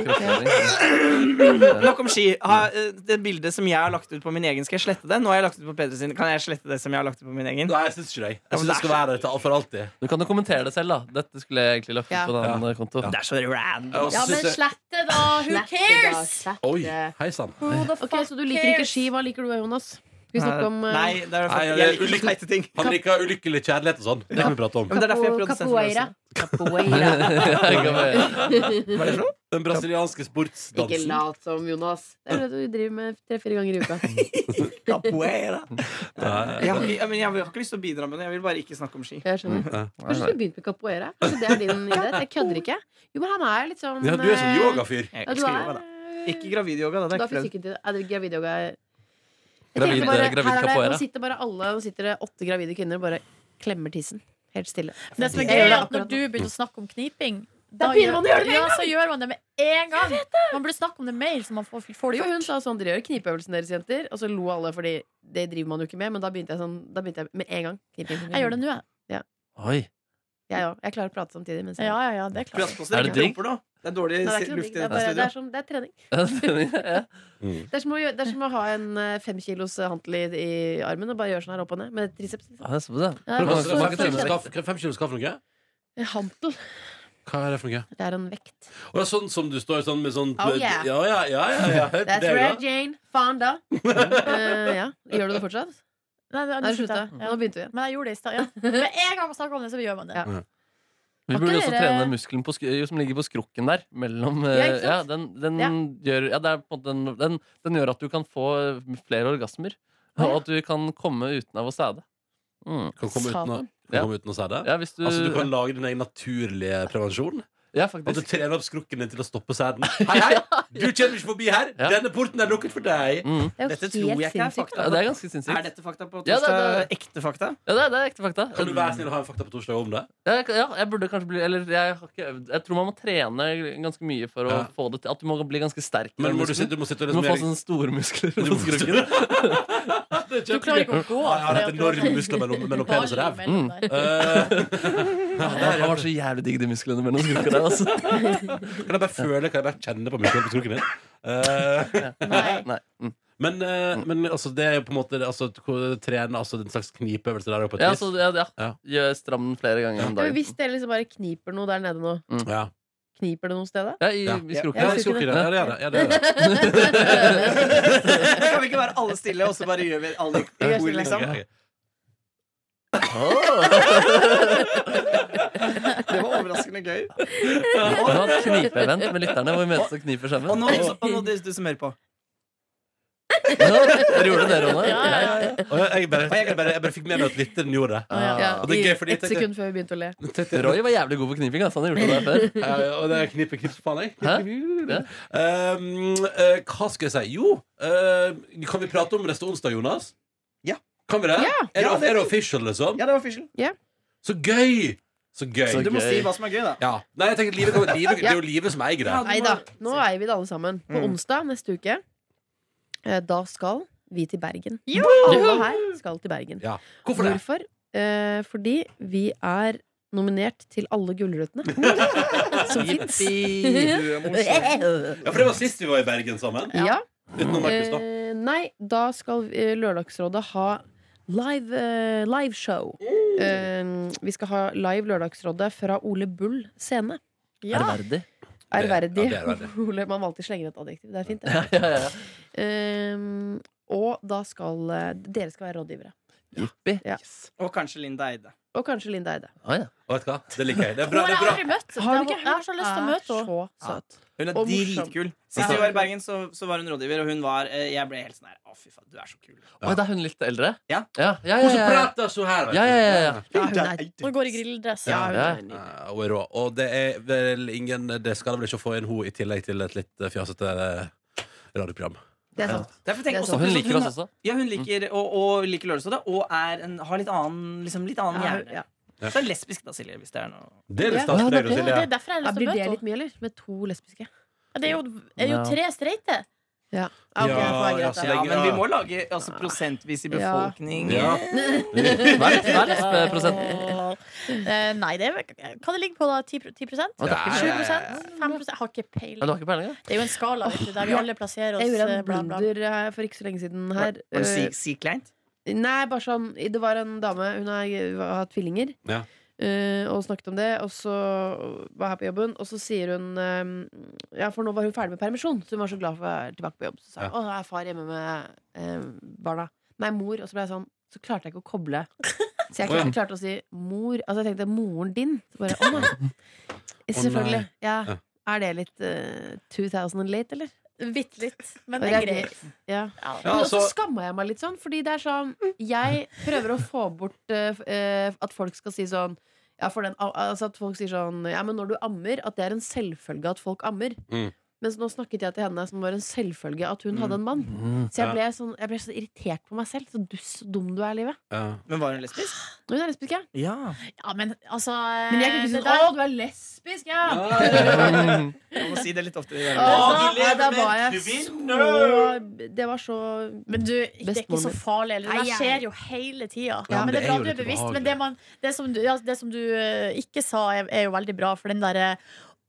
Speaker 3: kroppsøving.
Speaker 1: Nok om ski. Ha, eh, det bildet som jeg har lagt ut på min egen, skal jeg slette det? Nå har jeg lagt ut på Peter sin. Kan jeg slette det som jeg har lagt ut på min egen?
Speaker 2: Nei, jeg syns ikke det.
Speaker 1: Ja,
Speaker 2: Jeg
Speaker 1: men
Speaker 2: syns det skal være der til- for alltid.
Speaker 3: Du kan jo kommentere det selv, da. Dette skulle jeg egentlig lagt ut
Speaker 5: Ja.
Speaker 3: på den eh, konto.
Speaker 1: Det er så random.
Speaker 4: Ja, men slette, da! Who
Speaker 5: Slett det, da,
Speaker 4: cares?
Speaker 5: slett
Speaker 2: Oi,
Speaker 5: det.
Speaker 2: hei sann.
Speaker 4: Who the
Speaker 5: eh. Ok,
Speaker 4: fuck
Speaker 5: Så du liker ikke
Speaker 4: cares?
Speaker 5: ski. Hva liker du, Jonas? Skal vi snakke om eh,
Speaker 1: Nei, det er
Speaker 2: Nei,
Speaker 1: faktisk,
Speaker 2: det
Speaker 1: jeg
Speaker 2: er
Speaker 1: liker
Speaker 2: ulykkelig.
Speaker 1: ikke teite ting.
Speaker 2: Han liker ulykkelig kjærlighet og sånn. Det kan vi prate om.
Speaker 1: Ja, men det er derfor jeg
Speaker 5: capo-
Speaker 1: prøvde å sense
Speaker 5: capoeira? Capoeira.
Speaker 3: Jeg kan bare-
Speaker 1: Hva er det for noe?
Speaker 2: Den brasilianske
Speaker 5: Ikke
Speaker 2: sportsdansen.
Speaker 5: lat som, Jonas. Det er det du driver med tre-fire ganger i uka.
Speaker 1: Capoeira.
Speaker 2: Nei.
Speaker 1: Jeg har, ikke- ja, men jeg har ikke lyst til å bidra med det. Jeg vil bare ikke snakke om ski.
Speaker 5: Jeg skjønner.
Speaker 3: Nei,
Speaker 5: Kanskje du
Speaker 3: nei.
Speaker 5: skulle begynt med capoeira? Kanskje det er din idé? Jeg kødder ikke. Jo, men han er litt sånn
Speaker 2: Ja, du er sånn
Speaker 5: eh,
Speaker 2: yogafyr.
Speaker 1: Jeg
Speaker 5: Ja, du
Speaker 1: elsker yoga, da.
Speaker 5: er
Speaker 1: Ikke gravidyoga, da. Det
Speaker 5: Da
Speaker 1: er
Speaker 5: fikk
Speaker 1: ikke
Speaker 5: ikke til Er det gravidyoga Jeg
Speaker 3: Gravid-
Speaker 5: tenker bare,
Speaker 3: gravid
Speaker 5: her er det-
Speaker 3: capoeira.
Speaker 5: Nå sitter bare alle Nå sitter det åtte gravide kvinner og bare klemmer tissen. Helt stille.
Speaker 4: Det som er
Speaker 5: Jeg
Speaker 4: gøy,
Speaker 5: gjør
Speaker 4: er
Speaker 5: det
Speaker 4: at når
Speaker 5: akkurat
Speaker 4: du begynner å snakke om kniping
Speaker 5: Da begynner man å gjøre det med
Speaker 4: ja, så gjør man det med en gang. Man burde snakke om det mer, så man får, får det
Speaker 5: For
Speaker 4: gjort.
Speaker 5: hun sa sånn, dere gjør knipeøvelsen deres, jenter. Og så lo alle, fordi det driver man jo ikke med. Men da begynte jeg sånn, da begynte jeg med en gang.
Speaker 4: Jeg gjør det nå, jeg.
Speaker 3: Oi.
Speaker 5: Jeg òg. Jeg klarer å prate samtidig. Mens jeg
Speaker 4: Ja, ja, ja, det er
Speaker 1: Prøv å
Speaker 4: klart.
Speaker 1: passe
Speaker 3: Er
Speaker 1: dere
Speaker 3: det
Speaker 1: ikke
Speaker 3: digg?
Speaker 1: rumper nå. Det er dårlig
Speaker 5: Nei, det, er ikke noe digg.
Speaker 1: luft i
Speaker 5: det, er
Speaker 1: dette
Speaker 5: bare, det, er
Speaker 1: studioet.
Speaker 5: sånn, det er trening.
Speaker 3: Ja.
Speaker 5: Det er som å, gjøre- det er som å ha en eh, femkilos eh, hantel i, i armen og bare gjøre sånn her opp og ned med triceps.
Speaker 3: Ja, det er så bra.
Speaker 5: Ja,
Speaker 2: Hva- hva-
Speaker 5: men
Speaker 2: hva-
Speaker 5: så-
Speaker 2: hva-
Speaker 5: så-
Speaker 2: hva- hva- Fem kilo skal for noe?
Speaker 5: Hantel.
Speaker 2: Hva er det for noe?
Speaker 5: Det er en vekt.
Speaker 2: Å, ja, sånn som du står sånn med sånn
Speaker 5: Oh, yeah.
Speaker 2: Ja, ja, ja. ja, ja. Hør på
Speaker 5: That's
Speaker 2: det,
Speaker 5: right,
Speaker 2: da.
Speaker 5: Jane. Fonda. Eh, ja. Gjør du det fortsatt?
Speaker 4: Nei, det-
Speaker 5: Nei,
Speaker 4: nå slutta
Speaker 5: slutta.
Speaker 4: jeg.
Speaker 5: Nå
Speaker 4: Ja.
Speaker 5: begynte vi igjen.
Speaker 4: Men jeg gjorde det i stad. Ja. Med en gang man snakker om det, så gjør man det.
Speaker 5: Ja.
Speaker 3: Vi
Speaker 4: Har
Speaker 3: burde
Speaker 4: ikke
Speaker 3: også
Speaker 4: dere-
Speaker 3: trene muskelen på, sk- som ligger på skrukken der. Mellom,
Speaker 5: Ja,
Speaker 3: eh,
Speaker 5: ikke sant?
Speaker 3: ja, den, den,
Speaker 5: Ja.
Speaker 3: Gjør, ja, det er på en måte den, den, den gjør at du kan få eh, flere orgasmer.
Speaker 5: Å, ja.
Speaker 3: Og at du kan komme uten av å sæde. Mm.
Speaker 2: Kan komme uten å,
Speaker 5: Satan.
Speaker 2: kan komme uten å si det.
Speaker 3: Ja, hvis du,
Speaker 2: Altså, du kan lage din egen naturlige prevensjon.
Speaker 3: ja,
Speaker 2: At du
Speaker 3: faktisk.
Speaker 2: trener opp skrukken din til å stoppe sæden. Hei, hei! Du kommer ikke forbi her!
Speaker 3: Ja.
Speaker 2: Denne porten er lukket for deg!
Speaker 3: Mm.
Speaker 5: Det er jo
Speaker 1: Dette
Speaker 5: helt
Speaker 1: tror jeg ikke er
Speaker 5: sinnssykt.
Speaker 1: fakta.
Speaker 3: Ja, det er ganske
Speaker 1: Er
Speaker 3: sinnssykt.
Speaker 1: dette fakta på
Speaker 3: Ja, det er-
Speaker 1: torsdag? Ekte fakta?
Speaker 3: Ja, det er, det er ekte fakta.
Speaker 2: Kan du være snill å ha en fakta på torsdag om det?
Speaker 3: Ja, jeg, ja, jeg burde kanskje bli Eller jeg har ikke øvd. Jeg tror man må trene ganske mye for å
Speaker 2: Ja.
Speaker 3: få det til. At du må bli ganske sterk. i
Speaker 2: Men
Speaker 3: den
Speaker 2: må du,
Speaker 3: muskelen.
Speaker 2: sitte, du må sitte og
Speaker 3: du må få sånn-
Speaker 2: liksom
Speaker 3: sånne store muskler.
Speaker 2: Du må-
Speaker 3: på skrukken.
Speaker 4: Du klarer ikke å gå.
Speaker 2: Jeg har et enormt muskler mellom, mellom penis og ræv.
Speaker 4: Ballen mellom der.
Speaker 2: Eh,
Speaker 3: Det var så jævlig digg, de musklene mellom skrukken der. Altså.
Speaker 2: kan jeg bare føle, kan jeg bare kjenne på muskelen på skrukken din? Eh,
Speaker 4: Nei.
Speaker 3: Nei. Mm.
Speaker 2: Men, eh, men altså, det er jo på en måte altså, hvor- Trene altså, en slags knipeøvelse der òg, på et
Speaker 3: Ja,
Speaker 2: vis.
Speaker 3: så, ja, ja.
Speaker 2: Ja.
Speaker 3: Gjør stram den flere ganger
Speaker 5: Ja, men
Speaker 3: om dagen.
Speaker 5: hvis dere liksom bare kniper noe der nede nå,
Speaker 2: Ja.
Speaker 5: kniper det noe sted da?
Speaker 3: Ja, i,
Speaker 2: Ja.
Speaker 3: i skrukken.
Speaker 2: Ja,
Speaker 5: jeg
Speaker 2: jeg skulle
Speaker 5: skulle
Speaker 2: ikke det. Ja, det, er det. ja, det, er det.
Speaker 1: Kan vi ikke være alle stille, og så bare gjør vi alle
Speaker 5: gjør
Speaker 1: ord,
Speaker 5: sånn.
Speaker 1: liksom?
Speaker 2: Ok, ok.
Speaker 1: Det var overraskende gøy.
Speaker 3: Vi må ha et knipeevent med lytterne hvor vi møtes og kniper
Speaker 1: Og
Speaker 3: sammen.
Speaker 1: nå, og nå du, du som hører på.
Speaker 3: Ja, dere gjorde det, Ronny.
Speaker 4: Ja, ja, ja.
Speaker 2: Og jeg, jeg, bare, jeg, bare, jeg bare fikk med meg at lytteren gjorde
Speaker 3: Ah,
Speaker 2: det.
Speaker 5: Ja,
Speaker 2: Og det er
Speaker 5: i
Speaker 2: gøy, fordi jeg
Speaker 5: ett
Speaker 2: tenkte-
Speaker 5: sekund før vi begynte å le.
Speaker 3: Roy var jævlig god på kniping. Altså. Han gjorde det der før.
Speaker 2: Ja, ja, og det er knippe, knips, faen jeg.
Speaker 3: Hæ?
Speaker 2: Um, eh, hva skal jeg si? Jo, eh, kan vi prate om neste onsdag, Jonas?
Speaker 1: Ja.
Speaker 2: Kan vi det?
Speaker 5: Ja.
Speaker 2: Er,
Speaker 1: Ja,
Speaker 2: det er det official, liksom?
Speaker 1: Ja, det var official.
Speaker 2: Så gøy! Så gøy.
Speaker 3: Så
Speaker 1: Du må
Speaker 3: Gøy.
Speaker 1: si hva som er gøy, da.
Speaker 2: Ja. Nei, jeg tenker, livet, kan- livet, det er jo livet som eier det.
Speaker 1: Ja, du må-
Speaker 5: Nei da, nå eier vi det alle sammen. På
Speaker 1: Mm.
Speaker 5: onsdag neste uke, eh, da skal vi til Bergen.
Speaker 4: Jo!
Speaker 5: Alle her skal til Bergen.
Speaker 2: Ja. Hvorfor det?
Speaker 5: Eh, fordi vi er nominert til alle Gullrutene som fins.
Speaker 2: Ja, for det var sist vi var i Bergen sammen.
Speaker 5: Ja.
Speaker 2: Utenom Markus, da.
Speaker 5: Eh, nei, da skal eh, Lørdagsrådet ha live, eh, live show.
Speaker 2: Oh.
Speaker 5: Eh, vi skal ha live Lørdagsrådet fra Ole Bull scene.
Speaker 4: Ja.
Speaker 3: Ærverdig.
Speaker 2: Det-
Speaker 5: Ærverdig.
Speaker 2: ja, det er ærverdig.
Speaker 5: Ole, man alltid slenger et adjektiv. Det er fint, det.
Speaker 3: Ja, ja, ja.
Speaker 5: Eh, og da skal eh, dere skal være rådgivere.
Speaker 3: Jippi.
Speaker 5: Ja.
Speaker 1: Og kanskje Linda Eide.
Speaker 5: Og kanskje Linda Eide.
Speaker 3: Å, ja.
Speaker 2: Og vet du hva? Det liker jeg. Det er
Speaker 4: Hun
Speaker 2: bra.
Speaker 4: har
Speaker 2: Det
Speaker 4: jeg
Speaker 2: er bra.
Speaker 4: aldri møtt.
Speaker 5: Har du ikke
Speaker 4: Jeg har så lyst til å møte henne.
Speaker 5: Så søt.
Speaker 1: Hun er
Speaker 5: Og morsom.
Speaker 1: dritkul. Sist vi var i Bergen, så, så var hun rådgiver, og hun var eh, Jeg ble helt sånn her Å, fy faen, du er så kul.
Speaker 2: Ja.
Speaker 3: Oi, da er hun litt eldre?
Speaker 1: Ja.
Speaker 3: Ja, ja, ja,
Speaker 2: Hun som
Speaker 3: ja, ja.
Speaker 2: prater så her, vet
Speaker 3: Ja,
Speaker 2: du.
Speaker 3: ja, ja, ja.
Speaker 4: Ja, hun, er, hun går i grilldress.
Speaker 2: Ja,
Speaker 4: hun
Speaker 3: ja.
Speaker 4: er nydelig.
Speaker 2: Ja, Hun er rå. Eh, Og det er vel ingen Det skal vel ikke å få inn henne i tillegg til et litt eh, fjasete eh, radioprogram.
Speaker 5: Det er sant.
Speaker 1: Derfor tenker
Speaker 5: Det er
Speaker 1: jeg også
Speaker 3: Og
Speaker 1: at
Speaker 3: hun
Speaker 1: hun-
Speaker 3: liker oss også.
Speaker 1: Ja, hun liker, og, og liker Lørdagsrådet, og er en, har litt annen, liksom, litt annen
Speaker 5: Ja,
Speaker 1: hjerne.
Speaker 5: ja.
Speaker 2: Ja.
Speaker 1: Så er hun lesbisk, da, Silje. Hvis det er noe.
Speaker 2: Det er litt
Speaker 5: Ja,
Speaker 2: stas for
Speaker 4: Ja,
Speaker 2: deg,
Speaker 4: det
Speaker 2: Silje.
Speaker 4: er derfor jeg har
Speaker 5: Ja,
Speaker 4: lyst til
Speaker 5: blir
Speaker 4: å
Speaker 5: det
Speaker 4: møte
Speaker 5: litt
Speaker 4: henne.
Speaker 5: mye, eller? Med to lesbiske?
Speaker 4: Ja, Det er jo, er jo
Speaker 3: Ja.
Speaker 4: tre streite.
Speaker 5: Ja,
Speaker 2: Ja,
Speaker 5: ok, det får være
Speaker 2: ja,
Speaker 5: greit,
Speaker 2: så
Speaker 5: da.
Speaker 1: Ja,
Speaker 2: lenge,
Speaker 1: men
Speaker 2: ja.
Speaker 1: vi må lage altså, prosentvis i
Speaker 5: Ja.
Speaker 1: befolkning.
Speaker 2: Ja.
Speaker 3: Hva er hva er lesbeprosenten?
Speaker 4: Eh, Nei, det er, vel- hva det ligger på da? 10, 10 7
Speaker 3: Å, det er ikke-
Speaker 4: 5 Har ikke
Speaker 3: Ja, Du
Speaker 4: peiling.
Speaker 3: har ikke peiling? ja?
Speaker 4: Det er jo en skala vet du, der vi alle plasserer oss.
Speaker 5: Jeg gjorde
Speaker 4: eh,
Speaker 5: en
Speaker 4: bla, bla.
Speaker 5: blunder eh, for ikke så lenge siden her.
Speaker 1: Var det si,
Speaker 5: Eh,
Speaker 1: si kleint?
Speaker 5: Nei, bare sånn Det var en dame, hun har, har hatt tvillinger
Speaker 2: Ja.
Speaker 5: eh, Og snakket om det Og så var her på jobben Og så sier hun eh, Ja, for nå var hun ferdig med permisjon Så hun var så glad for å være tilbake på jobb Så sa hun, å, nå er far hjemme med eh, barna Nei, mor, og så ble jeg sånn Så klarte jeg ikke å koble Så
Speaker 2: Å,
Speaker 5: jeg
Speaker 2: ja.
Speaker 5: klarte, klarte å si mor Altså jeg tenkte, moren din Så bare, å nei Selvfølgelig, ja
Speaker 2: Ja.
Speaker 5: Er det litt eh, 2000 and late, eller?
Speaker 4: Bitte litt, men
Speaker 5: Og
Speaker 4: det er
Speaker 5: jeg
Speaker 4: greit.
Speaker 5: Ja
Speaker 4: Ja.
Speaker 2: Ja,
Speaker 5: men også
Speaker 2: altså-
Speaker 5: skamma jeg meg litt sånn, fordi det er sånn Jeg prøver å få bort eh, f- eh, at folk skal si sånn ja, for den, al- altså At folk sier sånn Ja, men når du ammer, at det er en selvfølge at folk ammer.
Speaker 2: Mm.
Speaker 5: Mens nå snakket jeg til henne som var en selvfølge at hun hadde en mann. Så jeg ble, sånn, jeg ble så irritert på meg selv. Så du så dum du er i livet.
Speaker 2: Ja.
Speaker 1: Men var hun lesbisk?
Speaker 5: Hun er lesbisk, jeg.
Speaker 1: Ja.
Speaker 4: Ja, men altså
Speaker 5: Men jeg kunne
Speaker 4: det
Speaker 5: ikke si
Speaker 4: der-
Speaker 5: sånn Å, du er lesbisk, ja!
Speaker 1: Jeg må si det litt
Speaker 5: Å,
Speaker 1: oftere. i hverdagen.
Speaker 5: da-
Speaker 2: du lever
Speaker 5: da
Speaker 2: med
Speaker 5: var
Speaker 2: en
Speaker 5: jeg så
Speaker 2: kvinne!
Speaker 5: Det var så
Speaker 4: Men du, det er ikke
Speaker 5: Bestemor
Speaker 4: så
Speaker 5: mi.
Speaker 4: farlig. eller? Det
Speaker 5: Nei, jeg-
Speaker 4: der skjer jo hele tida.
Speaker 2: Ja, men
Speaker 4: men det
Speaker 2: det
Speaker 4: er
Speaker 2: er
Speaker 4: bra
Speaker 2: jo
Speaker 4: du er
Speaker 2: litt
Speaker 4: bevisst.
Speaker 2: ubehagelig.
Speaker 4: Men det, man, det, som, du- ja, det som du eh, ikke sa, er, er jo veldig bra, for den derre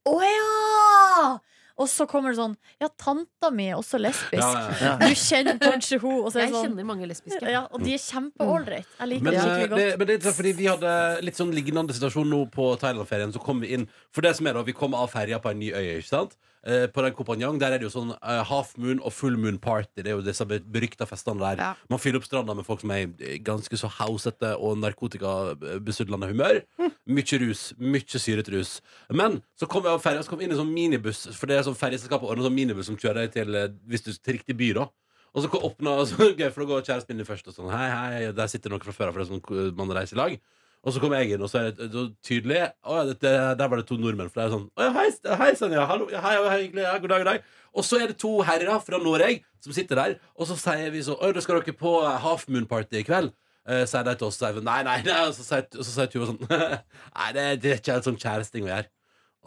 Speaker 4: Å ja! Og så kommer det sånn Ja, tanta mi er også lesbisk.
Speaker 2: Ja, ja, ja.
Speaker 3: Ja.
Speaker 4: Du kjenner kanskje hun Og så er
Speaker 5: Jeg
Speaker 4: det sånn
Speaker 5: kjenner mange lesbiske.
Speaker 4: ja, Og de er kjempeålreit. Jeg liker
Speaker 2: Men,
Speaker 4: det
Speaker 2: eh,
Speaker 4: skikkelig
Speaker 2: det,
Speaker 4: godt.
Speaker 2: men det er interessant, fordi vi hadde litt sånn lignende situasjon nå på Thailand-ferien. Så kom vi inn For det som er da, vi kom av ferja på en ny øy, ikke sant? Eh, på den Kopanjang der er det jo sånn eh, half moon og full moon party. Det er jo disse be- berykta festene der.
Speaker 5: Ja.
Speaker 2: Man fyller opp stranda med folk som er i ganske så hausete og narkotikabesudlende humør.
Speaker 4: Hm.
Speaker 2: Mykje rus. Mykje syret rus. Men så kom jeg av ferja, så kom vi inn i sånn minibuss. For det er sånn ferjeselskapet ordner sånn minibuss som kjører deg til, eh, hvis du, til riktig by, da. Og så ko- åpna og så, gøy, for da går kjæresten min inn først og sånn Hei, hei, der sitter noen fra før av, for det er sånn ko- man reiser i lag. Og så kommer jeg inn, og så er det så tydelig Å ja, det, det, der var det to nordmenn. For det er sånn Å ja, hei, s- hei sann, ja. Hallo. Ja, hei, hei, hyggelig. Ja, god dag, god dag. Og så er det to herrer fra Norge som sitter der, og så sier vi sånn Å, da skal dere på eh, half moon party i kveld. Eh, sier de til oss, sier vi nei, nei, nei. Og så sier, og så sier Tuva sånn Nei, det, det er ikke helt sånn kjæresting å gjøre.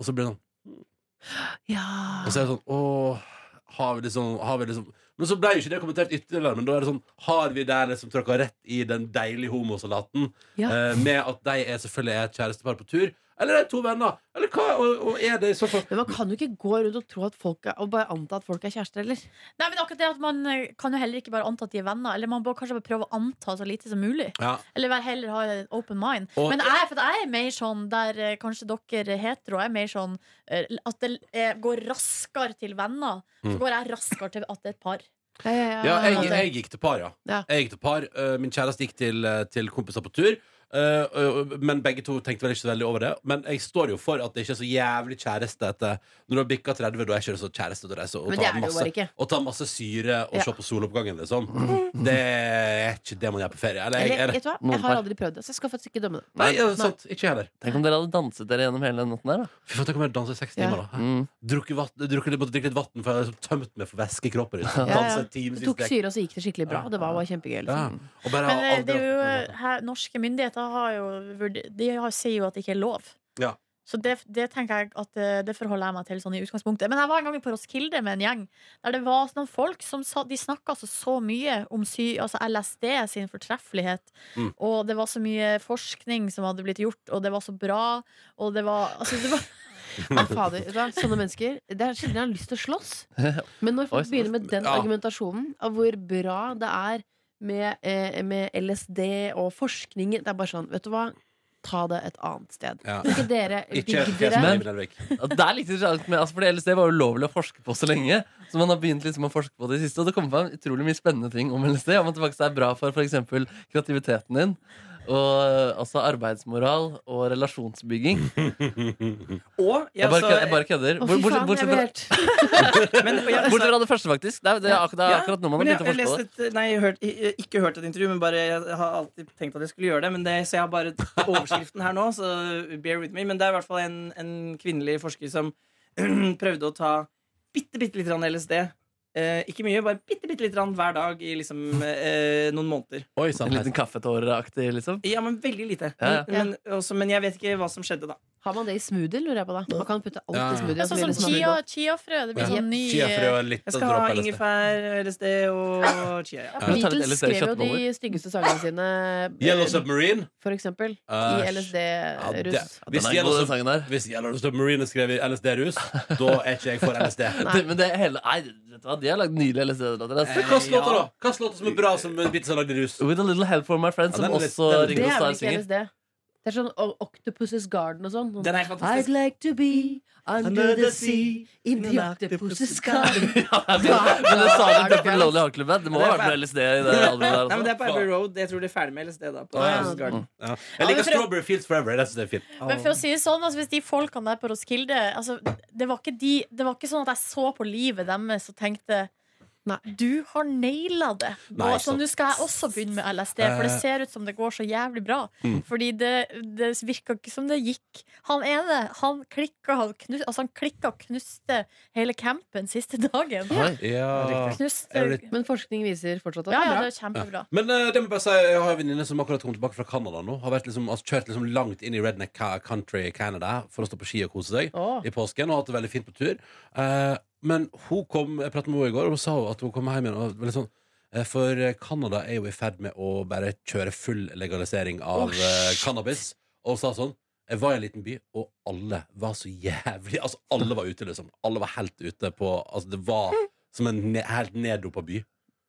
Speaker 2: Og så blir det sånn
Speaker 5: Ja.
Speaker 2: og så er det sånn Åh, har vi liksom, har vi liksom Men så ble jo ikke det kommentert ytterligere Men da er det sånn Har vi der liksom tråkket rett i den deilige homosalaten
Speaker 5: Ja.
Speaker 2: eh, Med at de er selvfølgelig er et kjærestepar på tur Eller er det to venner Eller hva, og, og er det i så fall
Speaker 5: Men man kan jo ikke gå rundt og tro at folk er, og bare anta at folk er kjærester heller.
Speaker 4: Nei, men akkurat det at Man eh, kan jo heller ikke bare anta at de er venner. Eller Man bør kanskje bare prøve å anta så lite som mulig.
Speaker 2: Ja,
Speaker 4: Eller vær heller ha en open mind.
Speaker 2: Og-
Speaker 4: Men jeg, for jeg er mer sånn der eh, kanskje dere er hetero jeg er mer sånn eh, at det eh, går raskere til venner. Så
Speaker 2: Mm.
Speaker 4: går jeg raskere til at det er et par.
Speaker 5: Ja, ja, ja.
Speaker 2: ja jeg, jeg gikk til par, ja,
Speaker 5: Ah, Ja.
Speaker 2: Jeg gikk til par eh, Min kjæreste gikk til, eh, til kompiser på tur eh, og- og- men begge to tenkte vel ikke så veldig over det Men jeg står jo for at det ikke er så jævlig kjæreste etter, Når du har bikket 30 Da er ikke det så kjæreste å reise og
Speaker 5: Men
Speaker 2: ta
Speaker 5: det er det jo
Speaker 2: masse-
Speaker 5: bare ikke.
Speaker 2: Å ta masse syre og
Speaker 5: Ja. Mm.
Speaker 2: se på soloppgangen, liksom. Det er ikke det man gjør på ferie. Eller, jeg-
Speaker 5: Eller,
Speaker 2: er det?
Speaker 5: vet du hva? Jeg
Speaker 3: Noen
Speaker 5: har
Speaker 3: par.
Speaker 5: aldri prøvd det, så jeg skal faktisk ikke dømme det.
Speaker 2: Nei, ja, sant. Ikke jeg heller.
Speaker 3: Tenk om dere hadde danset dere gjennom hele den natten der, da.
Speaker 2: Fy faen, tenk om jeg danser i seks
Speaker 5: Ja.
Speaker 2: timer, da.
Speaker 3: Mm.
Speaker 2: Drukket vatt, drukket, jeg måtte drikke litt vann, for jeg har liksom tømt meg for væske i kroppen. Liksom.
Speaker 5: Ja,
Speaker 2: Danse
Speaker 5: ja.
Speaker 2: en time
Speaker 5: Det
Speaker 2: i
Speaker 5: tok
Speaker 2: strekk.
Speaker 5: syre, og så gikk det skikkelig bra. Og det var bare
Speaker 2: Ja.
Speaker 5: kjempegøy. Liksom.
Speaker 2: Og bare
Speaker 4: Men
Speaker 2: ha
Speaker 4: eh,
Speaker 2: aldri
Speaker 4: det er jo,
Speaker 2: hatt-
Speaker 4: her, norske myndigheter har jo vurd- De har, sier jo at det ikke er lov.
Speaker 2: Ja.
Speaker 4: Så det, det tenker jeg at eh, det forholder jeg meg til sånn i utgangspunktet. Men jeg var en gang på Roskilde med en gjeng der det var noen folk som sa, de snakka altså så mye om sy, altså LSD sin fortreffelighet.
Speaker 2: Mm.
Speaker 4: Og det var så mye forskning som hadde blitt gjort, og det var så bra. Og det var, altså, det var
Speaker 5: Men fader, vet du hva? Sånne mennesker Det er sjelden jeg har lyst til å slåss. Men når
Speaker 3: Oi,
Speaker 5: folk
Speaker 3: så-
Speaker 5: begynner med den
Speaker 2: Ja.
Speaker 5: argumentasjonen av hvor bra det er med, eh, med LSD og forskning Det er bare sånn, vet du hva? Ta det et annet sted.
Speaker 2: Ja.
Speaker 5: Kan Ikke dere
Speaker 2: Ikke
Speaker 5: digg
Speaker 2: fjes med
Speaker 5: dere.
Speaker 3: Men-
Speaker 2: Liv Nelvik.
Speaker 3: Ja, det er litt interessant, men, altså, fordi LSD var jo ulovlig å forske på så lenge. Så man har begynt liksom å forske på det i det siste Og det kommer frem utrolig mye spennende ting om LSD. Om at det faktisk er bra for f.eks. kreativiteten din. Og altså arbeidsmoral og relasjonsbygging.
Speaker 1: Og jeg,
Speaker 3: Jeg bare,
Speaker 1: så-
Speaker 3: kødder- jeg bare kødder.
Speaker 5: Å,
Speaker 3: Bort-
Speaker 5: fy
Speaker 3: Bortsett
Speaker 5: faen, jeg
Speaker 3: bortsett
Speaker 5: blir
Speaker 3: fra,
Speaker 5: helt
Speaker 1: men, og jeg,
Speaker 3: bortsett fra det første, faktisk. Det er, det er, akkurat, det er akkurat nå man
Speaker 1: men
Speaker 3: har
Speaker 1: jeg,
Speaker 3: begynt å
Speaker 1: jeg
Speaker 3: forstå det.
Speaker 1: leste et, nei, jeg hørt, jeg, ikke hørt et intervju, men bare, jeg har alltid tenkt at jeg skulle gjøre det. Men det, så jeg har bare overskriften her nå, så bear with me. Men det er i hvert fall en, en kvinnelig forsker som prøvde å ta bitte, bitte litt grann LSD. Eh, ikke mye, bare bitte, bitte litt grann hver dag i liksom eh, noen måneder.
Speaker 2: Oi
Speaker 3: En
Speaker 2: sann.
Speaker 3: liten kaffetåreaktig, liksom.
Speaker 1: Ja, men veldig lite.
Speaker 3: Ja, ja.
Speaker 1: Men, men, også, men jeg vet ikke hva som skjedde, da.
Speaker 5: Har man det i smoothie, lurer jeg på da? Man kan putte alt
Speaker 2: Ja, ja.
Speaker 5: i smoothie.
Speaker 4: Det er
Speaker 5: og så
Speaker 4: sånn
Speaker 5: blir det
Speaker 4: som
Speaker 5: sånn
Speaker 4: chia, chiafrø. Det blir
Speaker 2: Ja.
Speaker 4: sånn ny
Speaker 2: Chiafrø og litt
Speaker 1: Jeg
Speaker 2: av
Speaker 1: skal ha
Speaker 2: dråper LSD.
Speaker 1: ingefær, LSD og chia. Ja.
Speaker 5: Ja,
Speaker 2: Ja.
Speaker 3: Ta litt
Speaker 5: Beatles
Speaker 3: LSD i
Speaker 5: skrev jo de
Speaker 3: kjøttboller.
Speaker 5: styggeste sangene sine,
Speaker 2: Yellow
Speaker 5: eh,
Speaker 2: Submarine.
Speaker 5: for eksempel, i
Speaker 2: altså- Æsj. Ja, det-
Speaker 5: LSD-russ.
Speaker 3: Den
Speaker 2: Hvis
Speaker 3: er god,
Speaker 2: Yellow
Speaker 3: den
Speaker 2: Sub-
Speaker 3: sangen der.
Speaker 2: hvis Yellow Submarine er skrevet i LSD-rus, da er ikke jeg for LSD.
Speaker 3: Det, men det er hele Nei, vet du hva, de har lagd nydelige LSD-låter.
Speaker 2: Men
Speaker 3: altså.
Speaker 2: Eh, Hva slags låter, da? Hva slags låter som er bra som en Beatles har lagd i rus?
Speaker 3: With a little help from my friends,
Speaker 2: Ja,
Speaker 3: som
Speaker 2: den er litt- den
Speaker 3: også
Speaker 2: er-
Speaker 5: Det
Speaker 3: Ringo
Speaker 5: er vel
Speaker 3: Starr
Speaker 5: ikke
Speaker 3: synger.
Speaker 5: LSD? Det er sånn O- Octopus's Garden og sånn.
Speaker 1: Den er helt
Speaker 5: I'd
Speaker 1: fantastisk.
Speaker 5: like to be under the sea in the octopus's garden.
Speaker 3: Men det sa du
Speaker 5: Er det
Speaker 3: på
Speaker 5: feil?
Speaker 3: Lonely Heart Club Band. Det må
Speaker 1: Det
Speaker 3: ha
Speaker 1: er
Speaker 3: vært
Speaker 1: feil.
Speaker 3: noe LSD i det albumet der
Speaker 1: Nei, men Det
Speaker 3: også.
Speaker 1: er på Abbey Road. Jeg tror de er ferdig med LSD da. På
Speaker 2: Ja, ja.
Speaker 1: Rose
Speaker 3: Mm.
Speaker 1: Garden.
Speaker 2: Ja. Jeg liker
Speaker 4: men for å-
Speaker 2: Strawberry Fields Forever. Jeg synes det er fint.
Speaker 4: Men for å si det sånn, altså, hvis de folkene der på Roskilde altså, det, var ikke de, det var ikke sånn at jeg så på livet deres og tenkte
Speaker 5: Nei.
Speaker 4: Du har naila det!
Speaker 2: Nei,
Speaker 4: og så
Speaker 2: sant.
Speaker 4: nå skal jeg også begynne med LSD, for
Speaker 2: Eh.
Speaker 4: det
Speaker 2: Mm.
Speaker 4: ser ut som det går så jævlig bra. Fordi det, det virka ikke som det gikk. Han ene han klikka han knu- altså, han klikka og knuste hele campen siste dagen.
Speaker 3: Oi.
Speaker 2: Ja.
Speaker 4: Knuste
Speaker 2: Er det
Speaker 5: Men forskning viser fortsatt at
Speaker 4: Ja, ja,
Speaker 5: det
Speaker 4: det
Speaker 5: er bra.
Speaker 4: er kjempebra.
Speaker 2: Men eh, det må jeg bare si, jeg har en venninne som akkurat kom tilbake fra Canada nå. Har vært liksom, altså, kjørt liksom langt inn i redneck ca- country Canada for å stå på ski og kose seg
Speaker 5: Åh.
Speaker 2: i påsken. Og hatt det veldig fint på tur. Eh, men hun kom, jeg pratet med henne i går, og hun sa jo at hun kom hjem igjen. Og var litt sånn, eh, for Canada er jo i ferd med å bare kjøre full legalisering av eh, cannabis. Og hun sa sånn Jeg var i en liten by, og alle var så jævlig Altså, alle var ute, liksom. Alle var helt ute på Altså, det var som en ne helt neddopa by.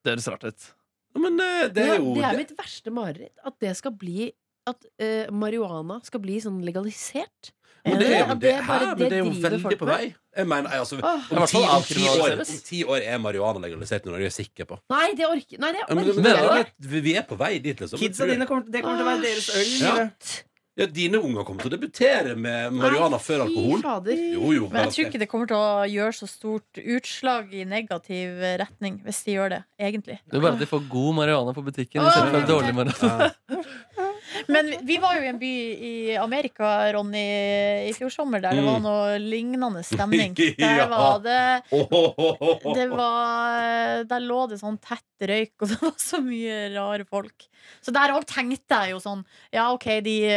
Speaker 3: Det høres rart ut.
Speaker 2: Ja, Men eh, det
Speaker 5: Det
Speaker 2: er
Speaker 5: er,
Speaker 2: jo
Speaker 5: det er
Speaker 2: det-
Speaker 5: mitt verste mareritt. At det skal bli At eh, marihuana skal bli sånn legalisert.
Speaker 2: Men det, er jo-
Speaker 5: At
Speaker 2: det,
Speaker 5: er
Speaker 2: hæ,
Speaker 5: bare
Speaker 2: men det er jo
Speaker 5: driver
Speaker 2: veldig
Speaker 5: folk
Speaker 2: på
Speaker 5: med.
Speaker 2: vei. Jeg mener, nei, altså,
Speaker 5: Åh.
Speaker 3: I
Speaker 2: om, ti, om,
Speaker 3: hvert fall
Speaker 2: ti år,
Speaker 3: avkriminaliseres.
Speaker 2: om ti år er marihuana legalisert i Norge, er jeg sikker på.
Speaker 5: Nei, det orker Nei, det
Speaker 2: Ja, men,
Speaker 5: orker
Speaker 2: men,
Speaker 5: jeg ikke.
Speaker 2: det- vi- vi er på vei dit, liksom.
Speaker 1: Kidsa dine kommer, det kommer til å være
Speaker 3: Ah,
Speaker 1: deres øl.
Speaker 2: Ja.
Speaker 1: Live.
Speaker 2: ja, dine unger kommer til å debutere med marihuana
Speaker 5: Nei,
Speaker 2: før
Speaker 5: fy
Speaker 2: alkohol.
Speaker 5: fader.
Speaker 2: Jo, jo,
Speaker 4: Men jeg tror
Speaker 2: garantert.
Speaker 4: ikke det kommer til å gjøre så stort utslag i negativ retning, hvis de gjør det, egentlig.
Speaker 3: Det er bare at de får god marihuana på butikken
Speaker 4: Åh,
Speaker 3: istedenfor
Speaker 4: ja.
Speaker 3: dårlig marihuana.
Speaker 2: Ja.
Speaker 4: Men vi- vi var jo i en by i Amerika, Ronny, i fjor sommer, der det var noe lignende stemning.
Speaker 2: Ja.
Speaker 4: Der var det
Speaker 2: Åh, åh, åh, åh, åh.
Speaker 4: det var, Der lå det sånn tett røyk, og det var så mye rare folk. Så der òg tenkte jeg jo sånn Ja, OK, de,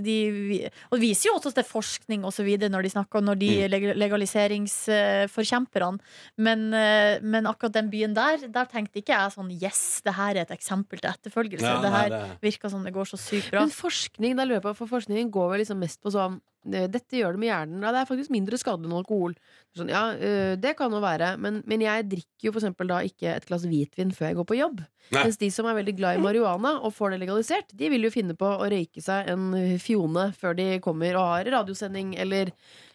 Speaker 4: de Og det viser jo også til forskning og så videre når de snakker Når de
Speaker 2: Mm.
Speaker 4: leg- legaliseringsforkjemperne. Men, eh, men akkurat den byen der, der tenkte ikke jeg sånn Yes, det her er et eksempel til etterfølgelse.
Speaker 2: Ja,
Speaker 4: liksom det
Speaker 2: nei,
Speaker 4: her
Speaker 2: det-
Speaker 4: virker som det går så sykt bra.
Speaker 5: Men forskning, da lurer jeg på, for forskningen går vel liksom mest på sånn eh, Dette gjør det med hjernen. Ja, det er faktisk mindre skadelig enn alkohol. Sånn, ja, eh, det kan jo være, men, men jeg drikker jo for eksempel da ikke et glass hvitvin før jeg går på jobb.
Speaker 2: Nei.
Speaker 5: Mens de som er veldig glad i marihuana og får det legalisert, de vil jo finne på å røyke seg en fione før de kommer og har radiosending, eller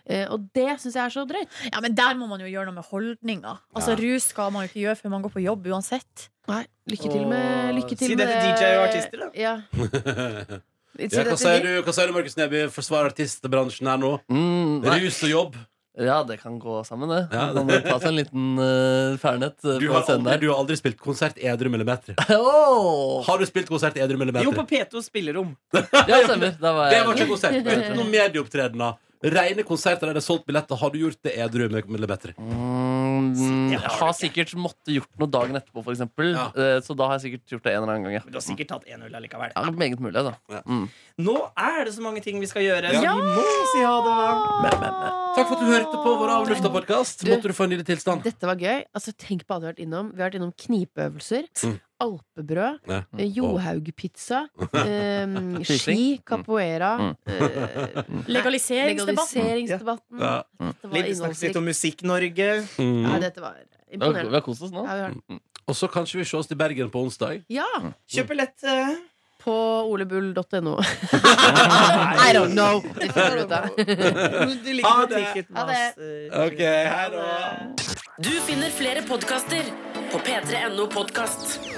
Speaker 5: eh, Og det syns jeg er så drøyt.
Speaker 4: Ja, men der må man jo gjøre noe med holdninger. Altså,
Speaker 2: Ja.
Speaker 4: Rus skal man jo ikke gjøre før man går på jobb uansett.
Speaker 5: Nei, lykke til med
Speaker 3: Åh,
Speaker 5: lykke til
Speaker 1: si det
Speaker 5: med
Speaker 1: til DJ og artister, da.
Speaker 5: Ja. Si
Speaker 2: ja,
Speaker 5: det
Speaker 2: hva
Speaker 5: til
Speaker 2: sier
Speaker 5: de.
Speaker 2: du, hva sier du Markus Neby? Forsvarer artistbransjen her nå.
Speaker 3: Mm, nei.
Speaker 2: Rus og jobb.
Speaker 3: ja, det kan gå sammen, det.
Speaker 2: Ja.
Speaker 3: Man må ta seg en liten uh, fernet eh,
Speaker 2: Du
Speaker 3: på
Speaker 2: har,
Speaker 3: scenen
Speaker 2: aldri,
Speaker 3: der.
Speaker 2: du har aldri spilt konsert edru millimeter.
Speaker 3: Åh!
Speaker 2: Har du spilt konsert edru millimeter?
Speaker 1: Jo, på P2s spillerom.
Speaker 3: Ja, stemmer. Da var
Speaker 2: Det var
Speaker 3: jeg
Speaker 2: ikke konsert. Det var ikke Noen medieopptredener. Reine konserter der det er solgt billetter. Har du gjort det edru med millimeter?
Speaker 3: Mm, jeg har sikkert måtte gjort noe dagen etterpå, for eksempel.
Speaker 2: Ja.
Speaker 3: Eh, Så da har jeg sikkert gjort det en eller annen gang. Ja.
Speaker 1: Men du har sikkert tatt en øl allikevel.
Speaker 3: Ja, meget mulig, altså. da.
Speaker 1: Nå er det så mange ting vi skal gjøre.
Speaker 2: Ja.
Speaker 1: så Vi må si ha det.
Speaker 2: Takk for at du hørte på vår avlufta podkast.
Speaker 5: Du-
Speaker 2: Måtte du få en nydelig tilstand.
Speaker 5: Dette var gøy. Altså, tenk på alt vi har vært innom. Vi har vært innom knipeøvelser,
Speaker 2: Mm.
Speaker 5: alpebrød,
Speaker 2: Ja.
Speaker 5: eh, johaugpizza, eh, ski,
Speaker 3: Fishing.
Speaker 5: capoeira, eh,
Speaker 4: Legaliseringsdebatten.
Speaker 5: legaliseringsdebatten.
Speaker 2: Ja.
Speaker 5: Dette var
Speaker 1: Litt, snakket litt
Speaker 5: innholdsrikt.
Speaker 1: om Musikk-Norge.
Speaker 5: Ja,
Speaker 2: Mm.
Speaker 5: dette var
Speaker 3: Vi har vi
Speaker 5: imponerende.
Speaker 3: har kost oss nå.
Speaker 5: Ja, vi har den.
Speaker 2: Og så kanskje vi ses til Bergen på onsdag.
Speaker 5: ja,
Speaker 1: Kjøp billett. eh.
Speaker 5: på olebull.no. I don't know! Det finner du ut av.
Speaker 1: Du
Speaker 2: Ha
Speaker 1: liker
Speaker 2: det.
Speaker 1: Ticketmaster.
Speaker 2: OK, hei da.
Speaker 6: Du finner flere podkaster på p3.no podkast.